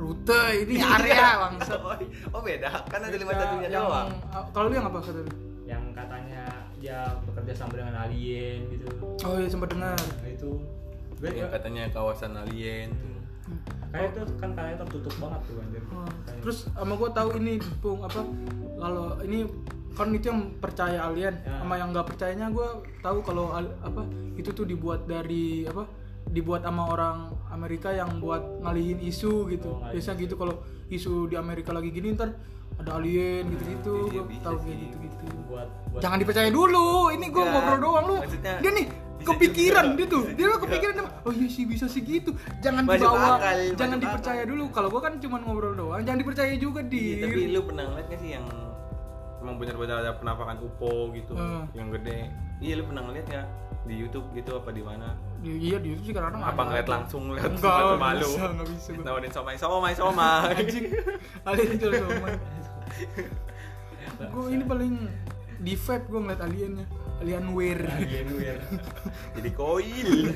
S3: 51
S1: rute ini area bangsa
S3: <laughs> oh beda kan ada lima satunya doang
S1: Iya, kalau lu yang apa kata lu?
S2: yang katanya dia bekerja sama dengan alien gitu
S1: oh iya sempat dengar
S2: nah, itu gue
S3: yang
S2: kayak
S3: katanya kawasan alien tuh
S1: Hmm.
S2: itu kan kayaknya tertutup banget tuh anjir
S1: Wah,
S2: Kayak-
S1: Iya. Oh, terus sama gua tahu ini Pung apa kalau ini kan itu yang percaya alien
S2: Ya.
S1: sama yang nggak percayanya gua tahu kalau al- apa itu tuh dibuat dari apa dibuat sama orang Amerika yang buat ngalihin isu gitu
S2: Oh, ngalihin
S1: biasa gitu kalau isu di Amerika lagi gini ntar ada alien gitu-gitu
S3: Iya,
S1: gua
S3: bisa
S1: tahu kayak
S3: sih.
S1: gitu-gitu
S2: buat buat
S1: Jangan dipercaya dulu. Ini gue
S3: Enggak.
S1: ngobrol doang lu.
S3: Ya, Maksudnya,
S1: dia nih
S3: bisa
S1: kepikiran
S3: juga.
S1: dia tuh.
S3: Bisa
S1: Dia lu
S3: juga.
S1: kepikiran dia, oh iya sih bisa sih gitu. Jangan
S3: Masuk
S1: dibawa,
S3: akal,
S1: jangan
S3: masuk
S1: dipercaya
S3: akal.
S1: dulu. Kalau gue kan cuma ngobrol doang, jangan dipercaya juga
S3: Iya,
S1: di.
S3: tapi lu pernah ngeliat gak sih yang emang benar-benar ada penampakan UFO gitu,
S1: Eh.
S3: yang gede? Iya, lu pernah ngeliat gak di YouTube gitu apa di mana?
S1: Iya di YouTube sih kadang
S3: Apa ngeliat langsung lihat
S1: Enggak,
S3: sumpah
S1: nggak
S3: malu.
S1: bisa, nggak bisa gua.
S3: Nawarin somai, somai, somai.
S1: Anjing. Alien itu
S3: <laughs>
S1: sama. Gue ini paling di vape gue ngeliat aliennya. Alien weird.
S2: alien weird
S3: Jadi koil.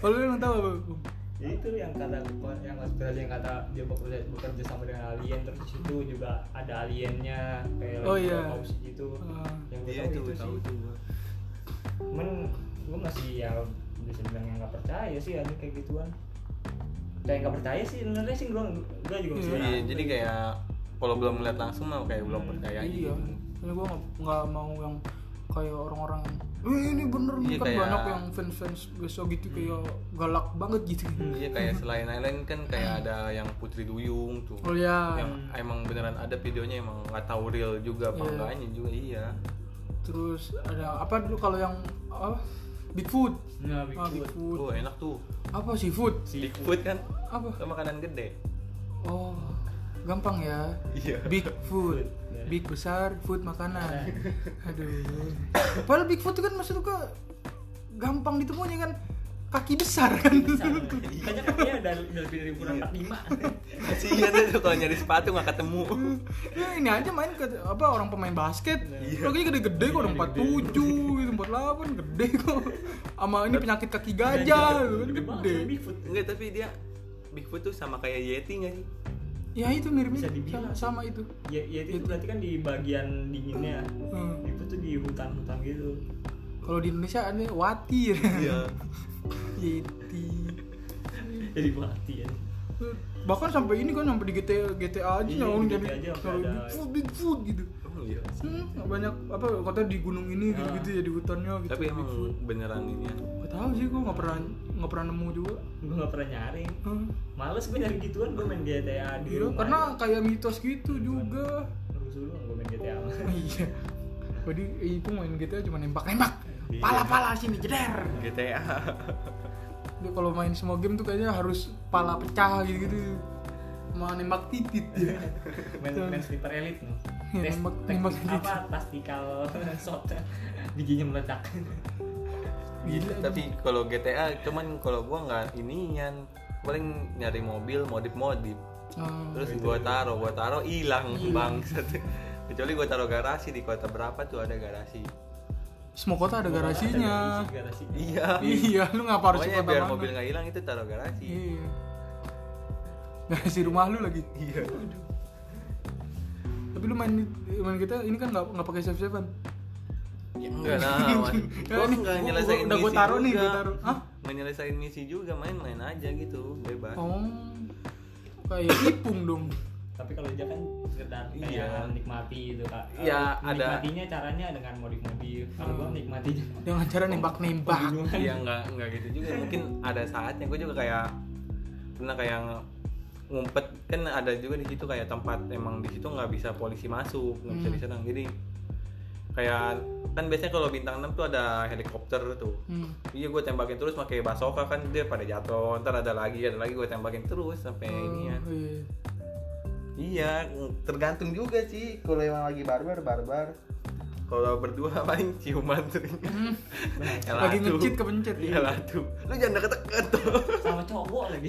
S1: Kalau lu yang tahu apa? Bung?
S2: Ya itu yang kata yang konspirasi yang kata dia bekerja, bekerja sama dengan alien terus di situ juga ada aliennya kayak
S1: Oh,
S2: lagi
S1: iya.
S2: autopsi gitu
S1: Ah.
S2: yang gue
S3: Iya
S2: tahu
S3: itu
S2: itu
S3: tahu
S2: sih
S3: tuh gua.
S2: cuman gue masih ya bisa bilang yang nggak percaya sih ada kayak gituan kayak nggak percaya sih sebenarnya sih gue gue juga masih
S3: Iya,
S2: ragu.
S3: jadi kayak kalau belum ngeliat langsung mah kayak belum percaya
S1: iya.
S3: gitu.
S1: Ini gue nggak mau yang kayak orang-orang yang "Eh, ini bener nih."
S3: Iya,
S1: kan
S3: kayak- Hmm.
S1: banyak yang fans-fans biasa gitu kayak galak banget gitu.
S3: Iya kayak selain Island kan kayak ada yang Putri Duyung tuh.
S1: Oh ya,
S3: Yang emang beneran ada videonya emang nggak tahu real juga apa
S1: Iya.
S3: enggaknya juga iya.
S1: terus ada apa dulu kalau yang apa? Bigfoot.
S2: nah
S1: Ah,
S2: Bigfood
S1: Bigfoot.
S3: Oh, enak tuh.
S1: Apa sih food?
S3: Bigfoot kan
S1: Apa?
S3: itu makanan gede.
S1: Oh, gampang ya.
S3: Iya. ya.
S1: Bigfoot.
S2: Iya.
S1: Big besar, food
S3: <laughs>
S1: makanan. Aduh. Padahal Bigfoot itu kan maksud gue gampang ditemunya kan kaki besar kan. <laughs>
S3: iya.
S2: kayaknya kakinya ada ada lebih dari ukuran 45
S3: Kasihan Iya tuh kalau nyari sepatu nggak ketemu.
S1: ya ini aja main ke apa orang pemain basket
S3: Iya.
S1: kakinya gede-gede kok udah 47 gitu 48 gede kok sama ini penyakit kaki gajah gitu kan
S2: Iya. Gede banget
S1: gede
S2: sama Bigfoot
S3: Enggak, tapi dia Bigfoot tuh sama kayak Yeti nggak sih?
S1: ya itu mirip
S2: Bisa
S1: mirip. sama,
S2: dibilang.
S1: sama itu
S2: ya, ya itu berarti kan di bagian dinginnya
S1: Hmm.
S2: Bigfoot tuh di hutan-hutan gitu
S1: kalau di Indonesia ada wati
S3: Iya.
S1: <laughs> Yeti
S2: jadi mati ya
S1: bahkan sampai ini kan sampai di GTA GTA aja
S2: Iya,
S1: nyawang
S2: di
S1: jadi
S2: GTA aja sampai
S1: nyawang
S2: ada-
S1: Bigfoot Bigfoot gitu
S3: Oh, iya.
S1: hmm, banyak apa katanya di gunung ini
S2: Ya.
S1: gitu gitu ya di hutannya gitu
S3: Tapi emang beneran ini ya.
S1: gak tau sih gue nggak pernah nggak pernah nemu juga
S2: gue gak pernah nyari
S1: Hmm.
S2: males gue nyari gituan gue main GTA di
S1: Iya,
S2: rumah
S1: karena kayak mitos gitu juga.
S2: rusuh lu gue main GTA mah
S1: Iya. Jadi eh, gitu ya,
S3: Iya.
S1: ibu main GTA cuma nembak-nembak. Pala-pala sini jeder.
S3: GTA.
S1: dia kalau main semua game tuh kayaknya harus pala pecah gitu gitu mau nembak titit dia
S3: Iya.
S2: main main sniper elite no.
S1: Iya,
S2: Tes-
S1: nembak-
S2: teknik
S1: nembak gitu.
S2: apa tactical <laughs> shot bijinya meledak
S3: Gitu, tapi kalau GTA cuman kalau gua nggak inian paling nyari mobil modif modif
S1: Ah,
S3: terus gua taro gua taro hilang bang kecuali gua taro garasi di kota berapa tuh ada garasi
S1: semua kota ada garasinya
S2: Ada garasinya.
S3: iya
S1: iya lu ngapa harus
S3: pokoknya
S1: kota
S3: biar
S1: mana?
S3: mobil nggak hilang itu taro garasi
S1: iya garasi rumah lu lagi
S3: iya
S1: tapi lu main main kita ini kan nggak nggak pakai save savean
S3: Ya, enggak
S1: <laughs>
S3: lah,
S1: Ya,
S3: gue
S1: ini
S3: nggak
S1: Hmm. gua-
S3: nyelesain
S1: gua- udah gua
S3: misi
S1: taruh nih,
S3: juga.
S1: gua taruh. Hah?
S3: Nggak nyelesain misi juga, main-main aja gitu, bebas.
S1: oh kayak ipung dong
S2: tapi kalau dia kan sekedar kayak
S3: Iya.
S2: menikmati itu kak
S3: Iya,
S2: Kalau
S3: ada- Hmm.
S2: menikmatinya caranya dengan modif-modif kalau gua menikmatinya <laughs>
S1: dengan cara nembak nembak
S3: Iya nggak nggak gitu juga.
S1: <laughs>
S3: Mungkin ada saatnya gue juga kayak pernah kayak ng- ngumpet kan ada juga di situ kayak tempat emang di situ nggak bisa polisi masuk nggak
S1: Hmm.
S3: bisa diserang jadi kayak kan biasanya kalau bintang 6 tuh ada helikopter tuh
S1: hmm.
S3: iya gue tembakin terus pakai basoka kan dia pada jatuh ntar ada lagi ada lagi gue tembakin terus sampai ini
S2: ya.
S3: ya.
S1: Oh, iya.
S3: Iya, tergantung juga sih.
S4: Kalau emang lagi barbar, barbar.
S3: Kalau berdua <laughs> paling ciuman sering. Ya
S1: Hmm.
S3: lah
S1: lagi
S3: tuh.
S1: ngecit kepencet
S3: Iya lah tuh. Lu jangan deket-deket tuh.
S2: sama cowok lagi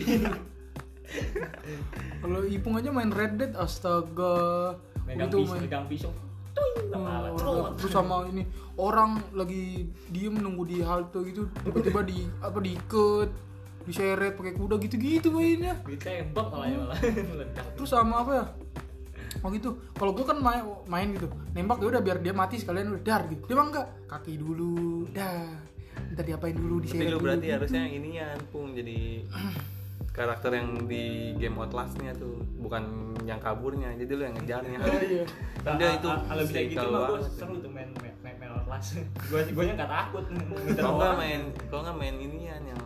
S1: Kalau Ipung aja main Red Dead astaga.
S2: megang
S1: Itu
S2: pisau
S1: main
S2: megang pisau tuing kepala
S1: Oh, terus sama ini orang lagi diem nunggu di halte gitu tiba-tiba di apa diikat diseret pakai kuda gitu-gitu mainnya
S2: ditembak malah ya malah <laughs> meledak
S1: terus sama apa ya oh gitu kalau gue kan main main gitu nembak ya udah biar dia mati sekalian udah dar gitu dia mah enggak kaki dulu dah ntar diapain dulu
S3: Tapi
S1: diseret
S3: lu
S1: dulu gitu.
S3: berarti harusnya ini ya Pung jadi karakter yang di game Outlast-nya tuh, bukan yang kaburnya. Jadi lu yang ngejarnya.
S1: Oh, <laughs> iya. ah,
S3: Kan dia itu
S2: kalau bisa gitu
S3: kalau
S2: mah gua seru tuh main main main, main Outlast <laughs> gua gua nya nggak
S3: <laughs>
S2: takut minta
S3: Kalau nggak
S2: orang
S3: main, kalau nggak main inian yang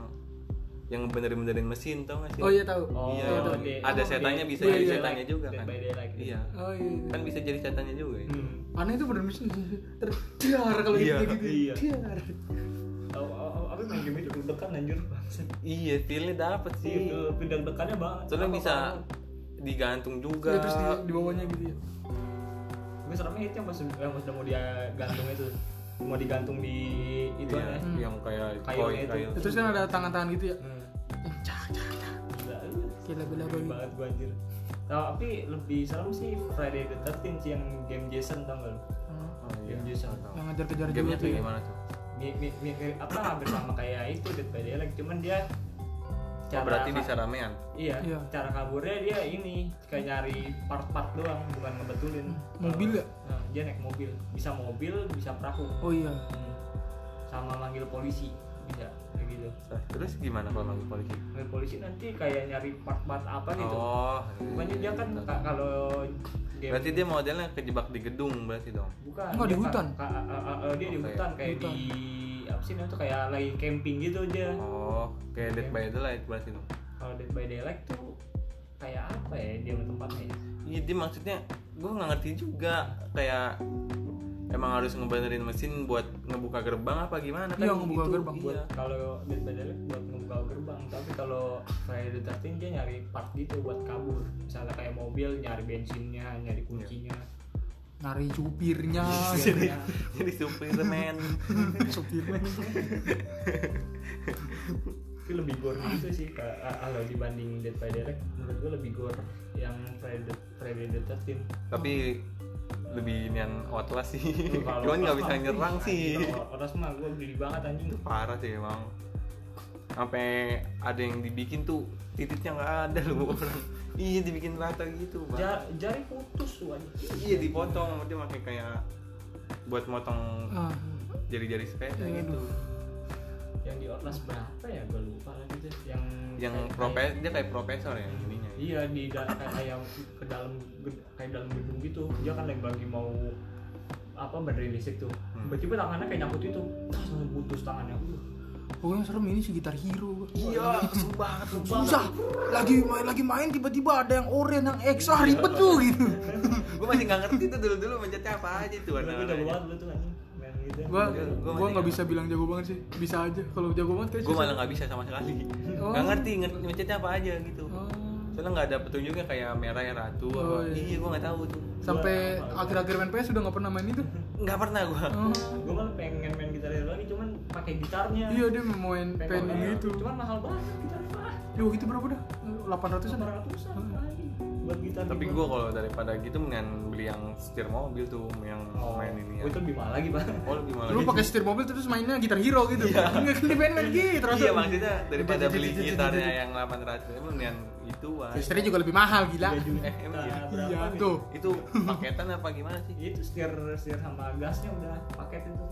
S3: yang benerin-benerin mesin tau gak sih?
S1: oh iya tahu
S2: Oh,
S3: Iya,
S1: tahu.
S2: di-
S3: ada
S2: apa,
S3: setannya
S2: di-
S3: bisa
S1: Dead
S3: jadi
S1: by
S3: setannya
S2: Daylight,
S3: juga
S2: Dead
S3: kan.
S2: by Daylight.
S3: Iya.
S1: oh iya
S3: Kan bisa jadi setannya juga ya.
S2: Hmm.
S1: aneh itu bener bener terjar kalau
S3: Iya,
S1: gitu gitu
S2: iya.
S1: Dar.
S2: Oh, oh, oh, apa main game itu deg-degan anjir bangsat
S3: Iya, feelnya dapet sih.
S2: sih deg-degannya banget
S3: Soalnya
S2: Gitu. Apa,
S3: bisa
S2: apa.
S3: digantung juga. Iya.
S1: Ya, terus di, di bawahnya gitu ya
S2: Tapi seremnya itu yang pas yang pas udah mau dia gantung itu mau digantung di
S1: gitu kan
S2: itu
S3: Iya,
S2: ya.
S3: yang kayak
S2: Kayu
S3: koin
S2: itu.
S3: kayu.
S1: Ya, terus kan ada tangan-tangan gitu ya
S2: Hmm.
S1: cah cah cah
S2: Gila,
S1: gila gila
S2: gila
S1: gila
S2: banget gua anjir. Nah, tapi lebih serem sih Friday the 13 sih yang game Jason tau gak lu?
S3: Oh, iya.
S2: Game Jason.
S1: yang ngejar-ngejar juga
S3: Gamenya
S1: tuh
S3: tuh
S1: ya
S3: gimana tuh?
S2: Mi, mi, mi, apa hampir sama kayak itu Dead by Daylight cuman dia
S3: Oh, berarti
S2: ka-
S3: bisa ramean.
S2: Iya,
S1: Iya.
S2: cara kaburnya dia ini kayak nyari part-part doang, bukan ngebetulin.
S1: mobil ya
S2: Nah, dia naik mobil, bisa mobil, bisa perahu.
S1: oh iya
S2: Hmm. sama manggil polisi bisa kayak gitu
S3: Nah, Terus gimana kalau manggil polisi?
S2: manggil polisi nanti kayak nyari part-part apa gitu
S3: Oh.
S2: bukannya
S3: iya,
S2: dia kan
S3: iya.
S2: ka- kalau game
S3: Berarti dia modelnya kejebak di gedung berarti dong.
S2: bukan
S1: Enggak, di
S2: dia ka-
S1: hutan.
S2: ka- a- a- a- dia di
S3: Oke.
S2: hutan kayak
S1: Hutan.
S2: di apa sih namanya tuh kayak lagi camping gitu aja
S3: Oh, kayak
S2: Iya.
S3: Dead by Daylight berarti dong.
S2: kalau Dead by Daylight tuh kayak apa ya dia tempatnya ya
S3: Iya, dia maksudnya gue nggak ngerti juga kayak emang harus ngebenerin mesin buat ngebuka gerbang apa gimana kan
S1: Iya, ngebuka
S3: gitu.
S1: gerbang.
S3: Iya.
S1: <laughs>
S2: buat kalau Dead by Daylight buat ngebuka gerbang tapi kalau Friday the 13 dia nyari part gitu buat kabur misalnya kayak mobil nyari bensinnya nyari kuncinya
S1: nyari supirnya iya.
S2: Iya.
S3: Jadi Superman.
S1: supirnya
S3: <laughs>
S2: tapi lebih gore gitu sih Kak. A- kalau dibanding Dead by Daylight menurut gue lebih gore yang Friday Friday the 13
S3: Tapi lebih nian Outlast sih.
S1: Iya,
S2: Tuh, kalau
S3: Cuman nggak
S2: Outlast
S3: bisa
S2: mah,
S3: nyerang
S2: anjing,
S3: sih.
S2: kalau Outlast mah gue geli banget anjing
S3: Itu parah sih emang. Sampai ada yang dibikin tuh titiknya nggak ada
S1: <laughs>
S3: loh orang. Iya dibikin rata gitu. Bang.
S2: Ja- jari putus tuh anjing
S3: Iya dipotong sama dia pakai kayak buat motong
S1: Ah,
S3: jari-jari sepeda
S1: Iya,
S3: gitu.
S2: yang di Outlast berapa ya gue lupa lagi tuh yang
S3: Yang
S2: kayak-
S3: profes dia kayak profesor ya ininya. ya.
S2: iya di da- kayak kayak ke dalam ged- kayak dalam gedung gitu dia kan lagi lagi mau apa benerin listrik tuh
S3: Hmm.
S2: tiba-tiba tangannya kayak nyangkut itu terus putus tangannya Aduh.
S1: pokoknya serem ini sih gitar hero
S3: Iya, kesel banget lu.
S1: susah lagi main lagi main tiba-tiba ada yang oranye yang X ah ribet tuh gitu
S3: Gue masih nggak ngerti tuh ya. dulu-dulu mencetnya apa aja tuh
S2: Gue udah
S3: warna-warnanya.
S2: banget lu tuh anjing main gitu gitu
S1: gua
S3: Gua- gua
S1: gua nggak
S3: mendingan.
S1: bisa bilang jago banget sih bisa aja kalau jago banget kayak
S3: gue malah nggak bisa sama sekali
S1: Oh.
S3: nggak ngerti ngerti mencetnya apa aja gitu soalnya nggak ada petunjuknya kayak merah ya ratu apa
S1: Oh, iya.
S3: iya gue nggak tahu tuh
S1: sampai akhir-akhir main PS udah nggak pernah main itu
S3: nggak pernah gue
S1: Oh.
S2: gue malah pengen main gitar hero lagi cuman pakai gitarnya
S1: iya dia mau main
S2: Pengen
S1: pengen gitu
S2: cuman mahal banget kan gitar mah
S1: Duh gitu berapa dah? 800-an
S2: sama ratusan
S1: Hmm.
S2: kali buat gitar
S3: tapi
S2: gitu.
S3: gue kalau daripada gitu mendingan beli yang setir mobil tuh yang
S2: Oh,
S3: main ini ya
S2: oh, itu bima lagi pak
S3: oh lebih malah
S1: Lu pakai setir mobil terus mainnya gitar hero gitu. Enggak kan main main gitu terus.
S3: terus iya maksudnya daripada beli gitarnya ya. yang 800 emang mendingan itu ah
S1: Setirnya juga lebih mahal gila.
S2: Tiga juta
S3: Eh, emang iya?
S2: berapa
S1: Iya
S2: gitu.
S1: tuh.
S3: itu paketan apa gimana sih
S2: Iya, itu setir setir sama gasnya udah paket itu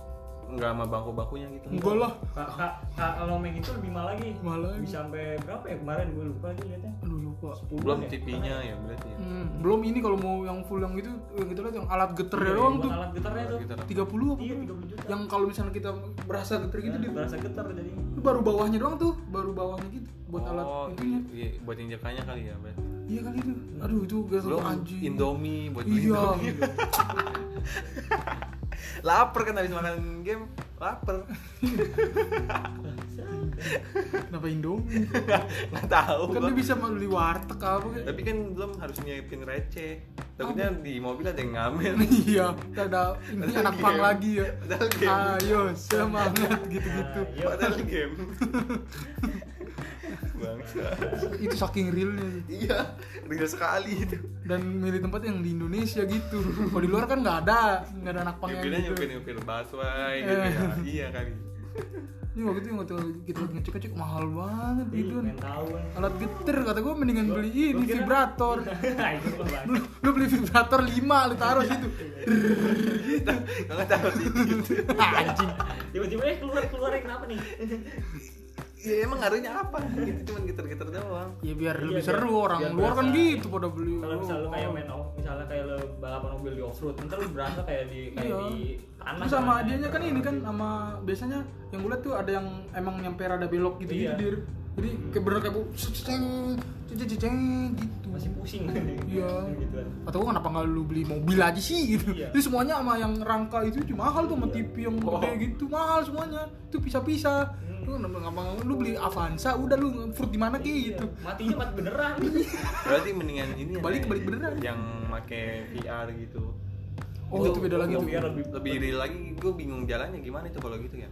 S3: nggak sama bangku bakunya gitu
S1: Enggak lah.
S2: kak kak kak kalau main itu lebih mahal lagi
S1: Mahal lagi.
S2: bisa sampai berapa ya kemarin gue lupa lagi liatnya Iya,
S1: Aduh lupa.
S3: belum TV-nya ya berarti ya
S1: Hmm, belum ini kalau mau yang full yang itu yang kita lihat yang alat getar ya
S2: Iya,
S1: doang
S2: buat
S1: tuh.
S2: alat getarnya tuh
S3: Gitar.
S1: 30 apa?
S2: iya 30 juta Iya,
S1: Yang kalau misalnya kita berasa getar gitu dia
S2: berasa getar jadi
S1: itu baru bawahnya doang tuh, baru bawahnya gitu buat alat
S3: oh,
S1: itunya.
S3: iya, buat injekannya kali ya berarti
S1: Iya kali itu. Aduh itu gas
S3: belum
S1: anjing.
S3: Indomie buat
S1: Iya.
S3: beli Indomie. lapar kan habis makan game lapar
S1: <laughs>
S3: <laughs>
S1: Kenapa
S3: <laughs>
S1: Indomie?
S3: nggak tahu
S1: Kan
S3: gua.
S1: dia bisa beli warteg apa kayak.
S3: Oh, tapi kan belum harus nyiapin receh takutnya di mobil ada yang ngamen
S1: iya kita ada ini
S3: Padahal
S1: anak
S3: game.
S1: pang lagi ya
S3: Padahal game.
S1: ayo semangat gitu-gitu
S2: Nah, iya.
S3: padahal game bangsa
S2: iya.
S1: itu saking realnya
S3: iya real sekali itu
S1: dan milih tempat yang di Indonesia gitu kalau di luar kan nggak ada nggak ada anak pang yang
S3: nyupirnya
S1: gitu
S3: nyupir nyupir baswai gitu
S1: Eh.
S3: ya iya kali
S1: ini waktu itu yang waktu kita ngecek-ngecek mahal banget
S2: Ih,
S1: gitu
S2: pengen tahu kan
S1: alat getar kata gue mendingan beli ini
S2: Gua kira-
S1: vibrator
S2: <laughs> Nah, itu gua bahas.
S1: lu, lu beli vibrator 5 lu taruh
S2: Iya.
S1: situ
S3: kalau tahu sih gitu.
S1: <laughs> anjing
S2: tiba-tiba eh keluar keluar ya, kenapa nih
S3: ya emang ngaruhnya apa gitu cuman gitar gitar doang
S1: ya biar
S2: Iya,
S1: lebih
S2: biar-
S1: seru orang
S2: biar
S1: luar kan
S2: berasa.
S1: gitu pada beli
S2: kalau misalnya lu
S1: Oh.
S2: kayak main off misalnya kayak lu balapan mobil di off road ntar lu berasa kayak di kayak
S1: Iya.
S2: di tanah
S1: Terus sama
S2: kan.
S1: adiannya kan ini kan sama biasanya yang gue liat tuh ada yang emang nyampe rada belok gitu gitu
S2: Iya.
S1: dir. Jadi kayak bener kayak bu ceng ceng ceng gitu.
S2: masih pusing
S1: Iya.
S2: <laughs> gitu kan
S1: Atau gua kenapa nggak lu beli mobil aja sih gitu.
S2: Iya.
S1: Itu semuanya sama yang rangka itu cuma mahal tuh sama TV yang
S2: Oh. Hmm.
S1: gede gitu mahal semuanya. Itu pisah-pisah. Lu kenapa nggak- lu beli Avanza udah lu fruit di mana
S2: Iya,
S1: kayak gitu. <laughs>
S2: matinya mati beneran
S3: berarti mendingan ini ya,
S1: Balik-
S3: Nay,
S1: balik beneran.
S3: yang make VR gitu
S1: Oh, itu beda lagi
S2: Yang
S1: tuh.
S2: biar lebih
S3: lebih real lagi gue bingung jalannya gimana itu kalau gitu ya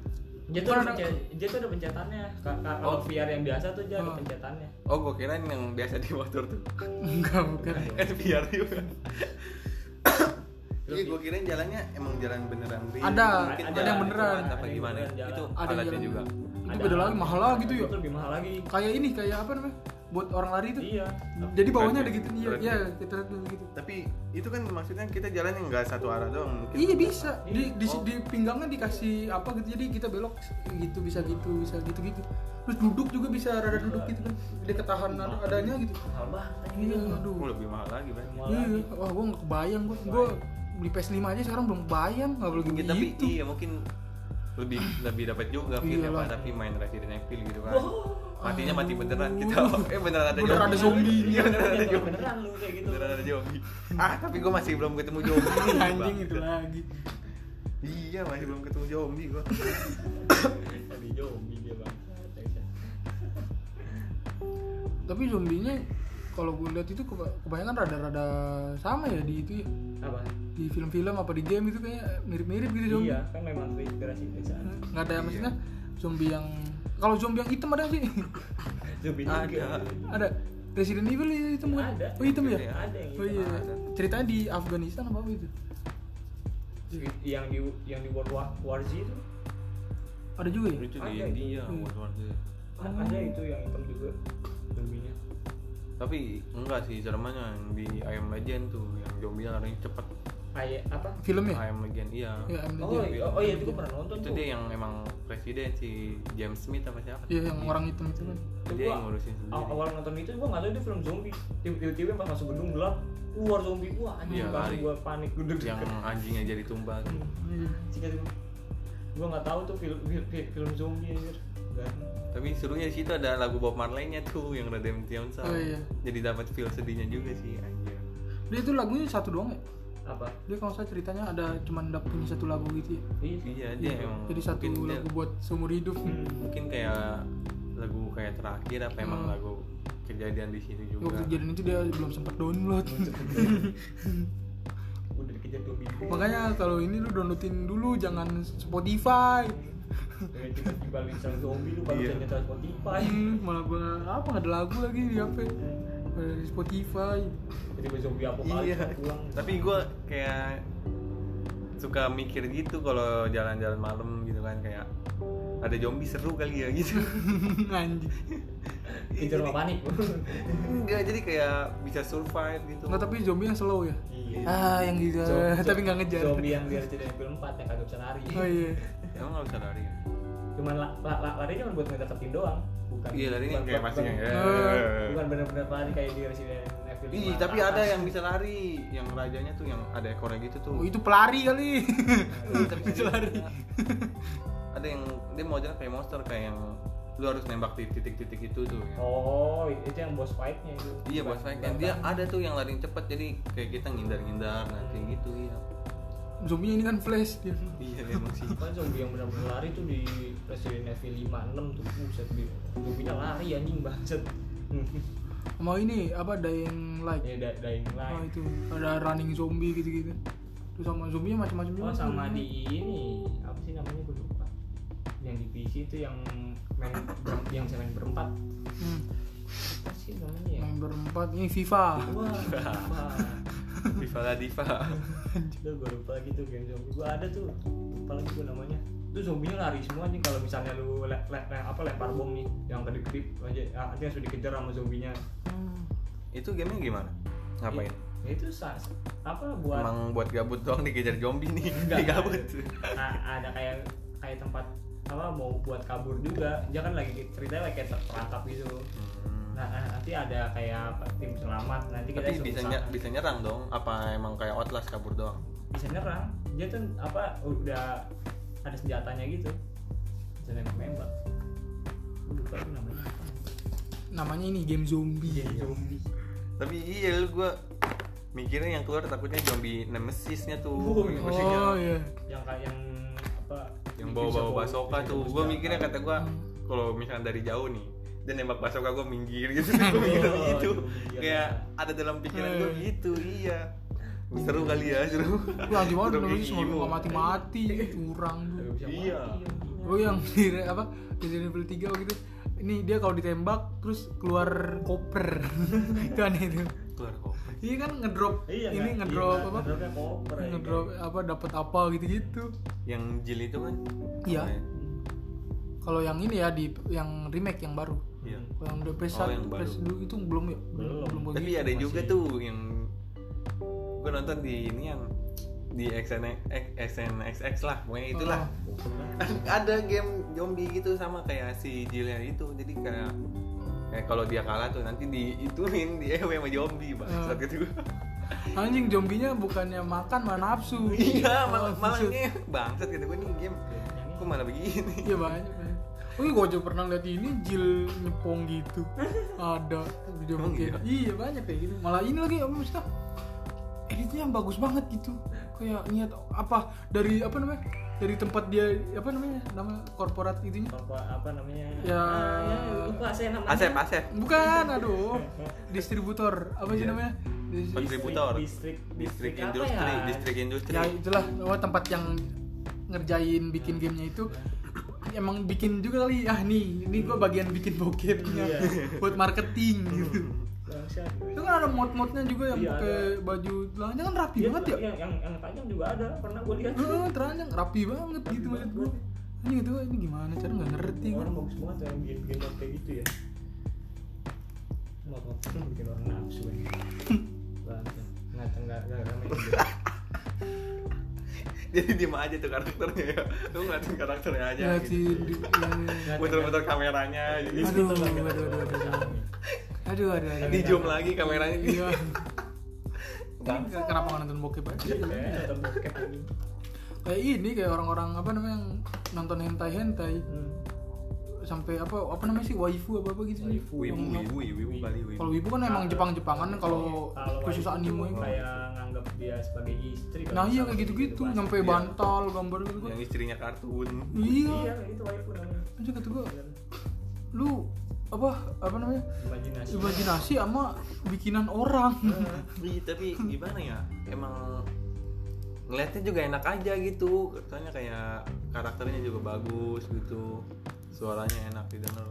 S2: dia tuh ada pencet- dia tuh ada pencetannya Ka- ka- kalau VR yang biasa tuh dia ada
S1: Oh.
S2: pencetannya
S3: oh gue kirain yang biasa di motor tuh
S1: Enggak bukan.
S2: Iya.
S3: kan VR juga Iya, gue kirain jalannya emang jalan beneran real.
S1: Ada,
S3: Mungkin
S2: ada
S3: jalan
S2: yang
S1: beneran.
S3: lewat
S2: Ada
S3: Apa
S2: yang
S3: gimana?
S2: beneran jalan.
S3: Itu
S1: Ada yang
S3: alatnya
S1: jalan-
S3: juga.
S1: Itu beda lagi mahal lah gitu ya.
S2: itu lebih mahal lagi
S1: Kayak ini kayak apa namanya? Buat orang lari tuh.
S2: iya
S1: Jadi bawahnya ada gitu. Iya,
S3: Keren.
S1: iya, kita lihat dulu gitu.
S3: Tapi itu kan maksudnya kita jalan yang nggak satu arah doang. Mungkin.
S1: Iya bisa. Di di,
S3: Oh.
S1: di pinggangnya dikasih apa gitu. Jadi kita belok gitu bisa gitu, bisa gitu gitu. Terus duduk juga bisa rada duduk gitu kan. Dia ketahanan adanya gitu.
S2: mahal banget
S1: Iya,
S3: Oh,
S1: aduh.
S3: lebih mahal lagi kan.
S2: Mahal
S1: Iya,
S2: lagi.
S1: iya. wah gua nggak kebayang gua. Gua beli PS5 aja sekarang belum kebayang, nggak boleh
S3: Mungkin
S1: gitu. Iya
S3: tapi iya mungkin lebih lebih dapat juga feel ya,
S1: Iyalah.
S3: Pak. tapi main Resident Evil gitu kan.
S2: Oh.
S3: Matinya mati beneran
S1: Aduh.
S3: kita. <laughs> Eh beneran ada
S1: Beneran ada zombie.
S3: Iya, beneran ada
S2: Iya,
S3: zombie.
S2: beneran lu kayak gitu
S3: Beneran ada zombie. Ah, tapi gue masih belum ketemu
S1: <laughs>
S3: zombie.
S1: <laughs> Anjing itu
S3: Bang.
S1: lagi.
S3: Iya, masih belum ketemu zombie gua.
S2: tadi zombie dia bang
S1: Tapi zombinya kalau gue lihat itu keba- kebanyakan rada-rada sama ya di itu ya.
S2: apa
S1: Di film-film apa di game itu kayak mirip-mirip gitu zombie.
S2: iya kan memang terinspirasi dari
S1: <laughs>
S2: sana
S1: Nggak ada maksudnya zombie yang kalau zombie yang hitam ada nggak sih? <laughs>
S2: zombie
S3: Ada.
S2: juga
S1: ada Resident Evil itu hitam bukan?
S2: Ada.
S1: Oh hitam ya?
S3: Ada,
S2: ada yang
S1: Oh iya.
S3: hitam. Ada.
S1: Ceritanya di Afghanistan apa apa itu?
S2: yang di yang di World War, War Z itu
S1: Ada juga ya?
S3: Lucu
S2: Ada
S3: deh
S2: itu.
S3: dia
S1: Hmm.
S3: warna-warni.
S2: A-
S1: Oh.
S2: ada itu yang hitam juga zombinya
S3: Tapi enggak sih Jermannya yang di I Am Legend tuh yang zombie larinya cepet.
S2: kayak apa
S1: Film ya?
S3: I Am Legend iya.
S1: Ya, I'm
S2: oh,
S1: Legend.
S2: iya, oh iya itu gue pernah nonton
S3: Itu
S2: tuh
S3: dia yang emang presiden si James Smith apa siapa?
S1: Iya yang orang hitam itu kan.
S2: Itu
S3: Dia
S2: gua
S3: yang ngurusin sendiri.
S2: aw- awal nonton itu gue nggak tahu itu film zombie tiba-tiba pas masuk gedung gelap keluar zombie wah anjing
S3: Iya,
S2: langsung
S3: lari.
S2: gue panik Hmm, gedeg
S3: yang anjingnya jadi tumbal.
S1: Iya.
S2: gue nggak tahu tuh film film, film zombie anjir Kan? Dan
S3: Tapi serunya di situ ada lagu Bob Marley-nya tuh yang Redemption Song.
S1: Oh, iya.
S3: Jadi dapat feel sedihnya juga sih anjir.
S1: Dia itu lagunya satu doang ya?
S2: apa
S1: dia kalau saya ceritanya ada cuman dap- punya satu lagu gitu ya
S2: iya sih
S3: iya dia
S1: Iya,
S3: emang
S1: jadi satu
S3: mungkin dia- Hmm,
S1: lagu buat seumur hidup
S2: Hmm,
S3: mungkin kayak lagu kayak terakhir apa emang
S1: Hmm.
S3: lagu kejadian di situ juga
S1: waktu kejadian itu dia belum sempat
S3: <laughs>
S1: download
S2: udah dikejar dua minggu
S1: makanya kalau ini lu downloadin dulu jangan Spotify
S2: Kayak tiba-tiba lincah zombie lu baru
S3: Iya.
S2: bisa nyetel Spotify
S1: Hmm, malah gua apa nggak ada lagu lagi di HP Eh, di Spotify <laughs>
S2: tiba-tiba zombie apa kali
S3: iya
S2: pulang
S3: tapi gue kayak suka mikir gitu kalau jalan-jalan malam gitu kan kayak ada zombie seru kali ya
S1: <laughs>
S3: gitu
S1: anjing
S2: kejar sama panik
S3: enggak jadi kayak bisa survive gitu
S1: nggak tapi zombie yang slow ya ah yang gitu
S2: Iya. Zo-
S1: tapi nggak ngejar
S2: zombie yang dia cerita film 4 yang kagak bisa lari
S1: oh iya
S3: emang nggak bisa lari ya?
S2: cuman la, la, la, larinya cuma buat ngedeketin doang bukan
S3: iya larinya
S2: bukan-
S3: kayak
S2: bukan-
S3: pastinya ya
S1: Eh.
S2: bukan bener-bener lari kayak di Resident Evil
S3: Ih, Iya,
S2: 5
S3: tapi
S2: atas.
S3: ada yang bisa lari yang rajanya tuh yang ada ekornya gitu tuh
S1: oh itu pelari kali <laughs>
S3: Ih, tapi
S1: bisa lari.
S3: <laughs> ada yang dia mau jalan kayak monster kayak yang lu harus nembak di titik-titik itu tuh ya.
S2: oh itu yang boss fightnya itu
S3: Iya bos
S2: Bukan-
S3: Faik. Dan
S2: bukan-
S3: dia ada tuh yang lari cepet jadi kayak kita ngindar-ngindar nanti gitu ya.
S1: zombie ini kan flash dia
S3: Iya emang sih.
S2: kan zombie yang benar-benar lari tuh di Resident Evil 5 6 tuh buset bi- zombinya lari anjing banget
S3: Hmm.
S1: mau ini apa dying light
S2: ya da dying
S1: oh
S2: light
S1: itu ada running zombie gitu gitu terus sama zombie macam-macam juga
S2: oh sama di ini apa sih namanya gue lupa yang di PC itu yang main ber- yang bisa main berempat
S1: hmm,
S2: apa sih namanya ya
S1: main berempat ini FIFA
S2: wah lupa
S3: Viva la <laughs> diva.
S2: udah gue lupa gitu game zombie gue ada tuh lupa lagi gue namanya itu zombinya lari semua nih kalau misalnya lu le le- le- apa lempar bom nih yang gede gede aja ah, dia langsung dikejar sama zombinya
S1: Hmm.
S3: Itu gamenya gimana? Ngapain?
S2: ya, itu sa- apa buat
S3: Emang buat gabut doang dikejar zombie nih. <laughs> Digabut.
S2: A- ada kayak kayak tempat apa mau buat kabur juga dia kan lagi ceritanya lagi kayak terperangkap gitu
S3: Hmm.
S2: nah nah, nanti ada kayak apa, tim selamat nanti kita
S3: Tapi
S2: suruh
S3: bisa
S2: kesana.
S3: nye- bisa nyerang dong. Apa emang kayak Outlast kabur doang?
S2: bisa nyerang dia tuh apa udah ada senjatanya gitu bisa nembak nembak lupa tuh namanya apa.
S1: namanya ini game zombie
S2: Jadi zombie
S3: Tapi iya lu gua mikirnya yang keluar takutnya zombie nemesisnya tuh.
S2: Oh, iya.
S3: Maksudnya
S1: oh iya
S2: yang kayak yang apa
S3: yang
S2: bisa
S3: bawa-bawa
S2: bisa
S3: basoka tuh.
S2: bawa
S3: Gua
S2: senjata.
S3: mikirnya kan- kata gua kalau misalnya dari jauh nih dia nembak basoka gua minggir <laughs> gitu. Gua
S2: Oh,
S3: mikir begitu.
S2: iya.
S3: Kayak ada dalam pikiran gua
S1: Eh.
S3: gitu, iya. Seru kali ya, seru.
S1: Lu anjing banget
S3: Seru
S1: dulu
S3: kayak gitu.
S1: semua
S3: imo.
S1: nggak mati-mati curang
S2: Kagak
S1: lu.
S2: bisa
S3: Iya.
S2: mati, anjing.
S1: Lu yang <laughs> di apa Resident Evil 3 gitu. Ini dia kalau ditembak terus keluar koper. <laughs> itu aneh itu.
S3: Keluar kok.
S1: Iya kan ngedrop
S2: Iya,
S1: ini
S2: kan?
S1: ngedrop
S2: Iya,
S1: apa?
S2: ngedropnya koper, ya,
S1: Ngedrop
S2: kan?
S1: apa dapat apa gitu-gitu.
S3: Yang jil itu kan?
S1: Iya.
S3: Apa ya?
S1: Kalau yang ini ya di yang remake yang baru.
S3: Iya.
S1: Kalau yang udah
S3: Oh, yang
S1: PS1
S3: baru.
S1: PS2 itu belum ya?
S2: Belum.
S1: kayak
S3: Tapi
S1: gitu.
S3: ada
S2: masih-
S3: juga tuh yang gua nonton di ini yang di XN, XNXX lah, pokoknya itulah.
S1: Hmm.
S3: ada game zombie gitu sama kayak si Jilnya itu jadi kayak kayak kalau dia kalah tuh nanti diituin di <laughs> EW sama zombie bangsat
S1: Hmm.
S3: gitu
S1: Anjing zombinya bukannya makan malah nafsu.
S3: <laughs> iya malah
S1: Oh,
S3: malah
S1: buset.
S3: ini bangsat gitu gue nih game kok malah begini
S1: Iya banyak. banyak. Oh iya, gue juga pernah lihat ini jil nyepong gitu. Ada video
S3: Emang
S1: mungkin.
S3: iya?
S1: Iya banyak kayak gitu. Malah ini lagi apa maksudnya? Editnya yang bagus banget gitu. Kayak niat apa dari apa namanya? Dari tempat dia apa namanya? Nama korporat itunya.
S2: apa apa namanya
S1: Ya.
S2: Ah, ya, lupa saya namanya
S3: Asep Asep
S1: Bukan, aduh. Distributor. Apa sih
S3: Iya.
S1: namanya? Dis-
S3: Kontribu-
S2: distrik
S3: Butor.
S2: distrik
S3: distrik
S2: apa
S3: industri
S2: ya?
S3: distrik industri
S1: Ya itulah oh, tempat yang ngerjain bikin gamenya itu emang bikin juga kali ah nih ini gue bagian bikin bokepnya
S2: Iya.
S1: buat marketing gitu
S2: Bangsat.
S1: itu kan ada mod-modnya juga yang
S2: Iya,
S1: pakai
S2: ada.
S1: baju telanjang kan rapi
S2: Iya,
S1: banget ya
S2: yang yang yang tajam juga ada pernah gue lihat
S1: Heeh, telanjang rapi banget gitu maksud gue ini gitu ini gimana cara nggak ngerti Iya, gue
S2: orang bagus banget tuh yang bikin bikin mod kayak gitu ya mod mod tuh bikin orang nafsu ya Bangsat. nggak nggak nggak ramai
S3: <laughs> jadi diem aja tuh karakternya ya lu ngeliatin karakternya aja
S1: ya si
S3: gitu.
S1: di- ya-
S3: muter-muter kameranya jadi
S1: aduh aduh aduh aduh aduh aduh aduh
S3: di zoom lagi kameranya
S1: iya
S2: <laughs>
S1: Ini kenapa nggak nonton bokep aja Iya.
S2: Eh, nonton bokep anjing.
S1: kayak ini kayak orang-orang apa namanya yang nonton hentai hentai
S2: Hmm.
S1: sampai apa apa namanya sih waifu apa apa gitu
S2: Waifu.
S3: wibu wibu wibu wibu kali wibu
S1: kalau wibu kan emang Jepang Jepangan kalau
S2: ya. Kalau
S1: khusus
S2: itu
S1: anime
S2: kayak nganggap dia sebagai istri
S1: nah
S2: kalau
S1: iya
S2: misalnya
S1: kayak gitu-gitu
S2: pasti.
S1: nyampe bantal gambar gitu kan
S3: yang istrinya kartun
S1: iya
S2: iya itu waifu namanya
S1: anjir kata gua lu apa apa namanya
S2: imajinasi
S1: imajinasi sama bikinan orang
S3: Ih, tapi gimana ya emang ngeliatnya juga enak aja gitu katanya kayak karakternya juga bagus gitu suaranya enak didengar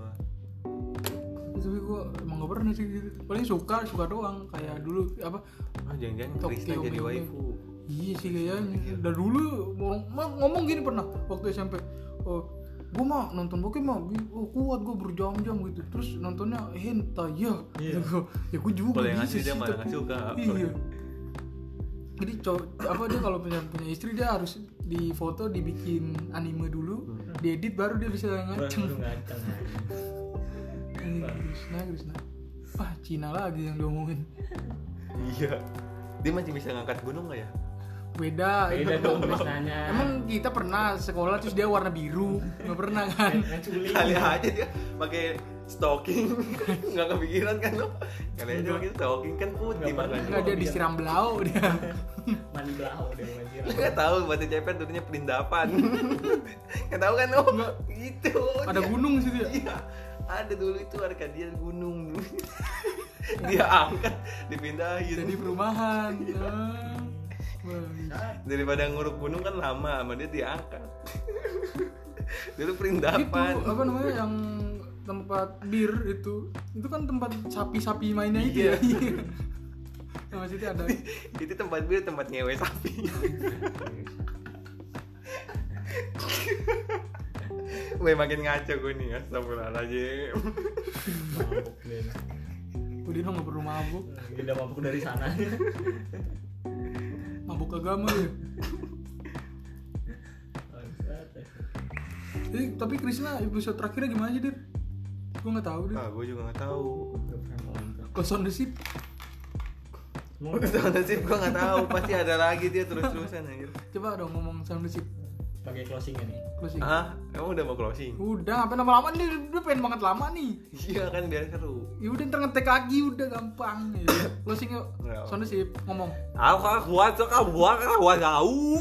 S1: tapi gue emang gak pernah sih gitu paling suka suka doang kayak dulu apa
S3: ah jangan-jangan
S1: Tokyo
S3: Krista jadi
S1: Meme.
S3: waifu
S1: iya sih kayaknya dari dulu ngomong, mah ngomong gini pernah waktu SMP oh, gue mah nonton bokep mah bi- oh, kuat gue berjam-jam gitu terus nontonnya hentai ya
S2: Iya.
S1: Gitu. ya gue juga
S3: kalau yang
S1: bisa
S3: asli dia
S1: sih,
S3: malah nggak
S1: tapi-
S3: suka ya?
S1: iya jadi cowok apa dia kalau punya punya istri dia harus di foto dibikin anime dulu
S3: Hmm.
S1: diedit baru dia bisa ngaceng
S2: Waduh, ngaceng
S1: Eh, Krishna Krishna ah Cina lagi yang diomongin
S3: iya dia masih bisa ngangkat gunung nggak ya
S1: beda
S2: beda
S1: <laughs>
S2: dong Krisnanya
S1: Emang kita pernah sekolah terus dia warna biru, nggak pernah kan?
S2: ngaculi
S3: kali aja dia pakai stocking <laughs> nggak kepikiran kan lo kali aja pakai stocking kan putih
S2: Nggak
S3: makanya
S1: Enggak dia disiram belau dia.
S2: mandi belau dia banjir
S3: nggak tahu batu ceper dulunya
S1: <laughs>
S3: perindapan nggak tahu kan oh gitu
S1: Ada gunung situ ya.
S3: Iya, ada dulu itu Arkadia
S1: <laughs>
S3: gunung dulu. dia angkat dipindahin
S1: Jadi perumahan. Ah, bagus.
S3: daripada nguruk gunung kan lama sama dia diangkat <laughs> dulu
S1: Itu
S3: perindapan
S1: apa namanya yang tempat bir itu itu kan tempat sapi-sapi mainnya itu ya. Nah, maksudnya ada
S3: itu tempat bir tempat nyewe sapi
S1: <laughs>
S3: Weh makin ngaco gue nih Astagfirullahaladzim
S2: mabuk dia
S1: Udah dong nggak perlu mabuk
S2: tidak mabuk dari sana
S1: Mabuk agama ya
S2: Bangsat.
S1: Jadi, Tapi Krisna episode terakhirnya gimana sih Dir? Gue gak tau Dir
S3: Ah gue juga gak tau
S2: Gak pernah nonton.
S1: Koson desip
S2: Mau
S3: Soalnya sih gue gak tau Pasti ada lagi dia terus-terusan anjir
S1: Coba dong ngomong sound desip
S2: pakai closingnya nih
S1: Closing
S3: Ah emang udah mau closing?
S1: Udah, ngapain lama-lama nih? Udah pengen banget lama nih.
S3: Iya kan biar seru
S1: Ya udah ntar ngetek lagi udah gampang ya. Closing yuk.
S3: Ya.
S1: Soalnya sih ngomong.
S3: Aku kan kuat, aku kan buat, aku kan kuat tahu.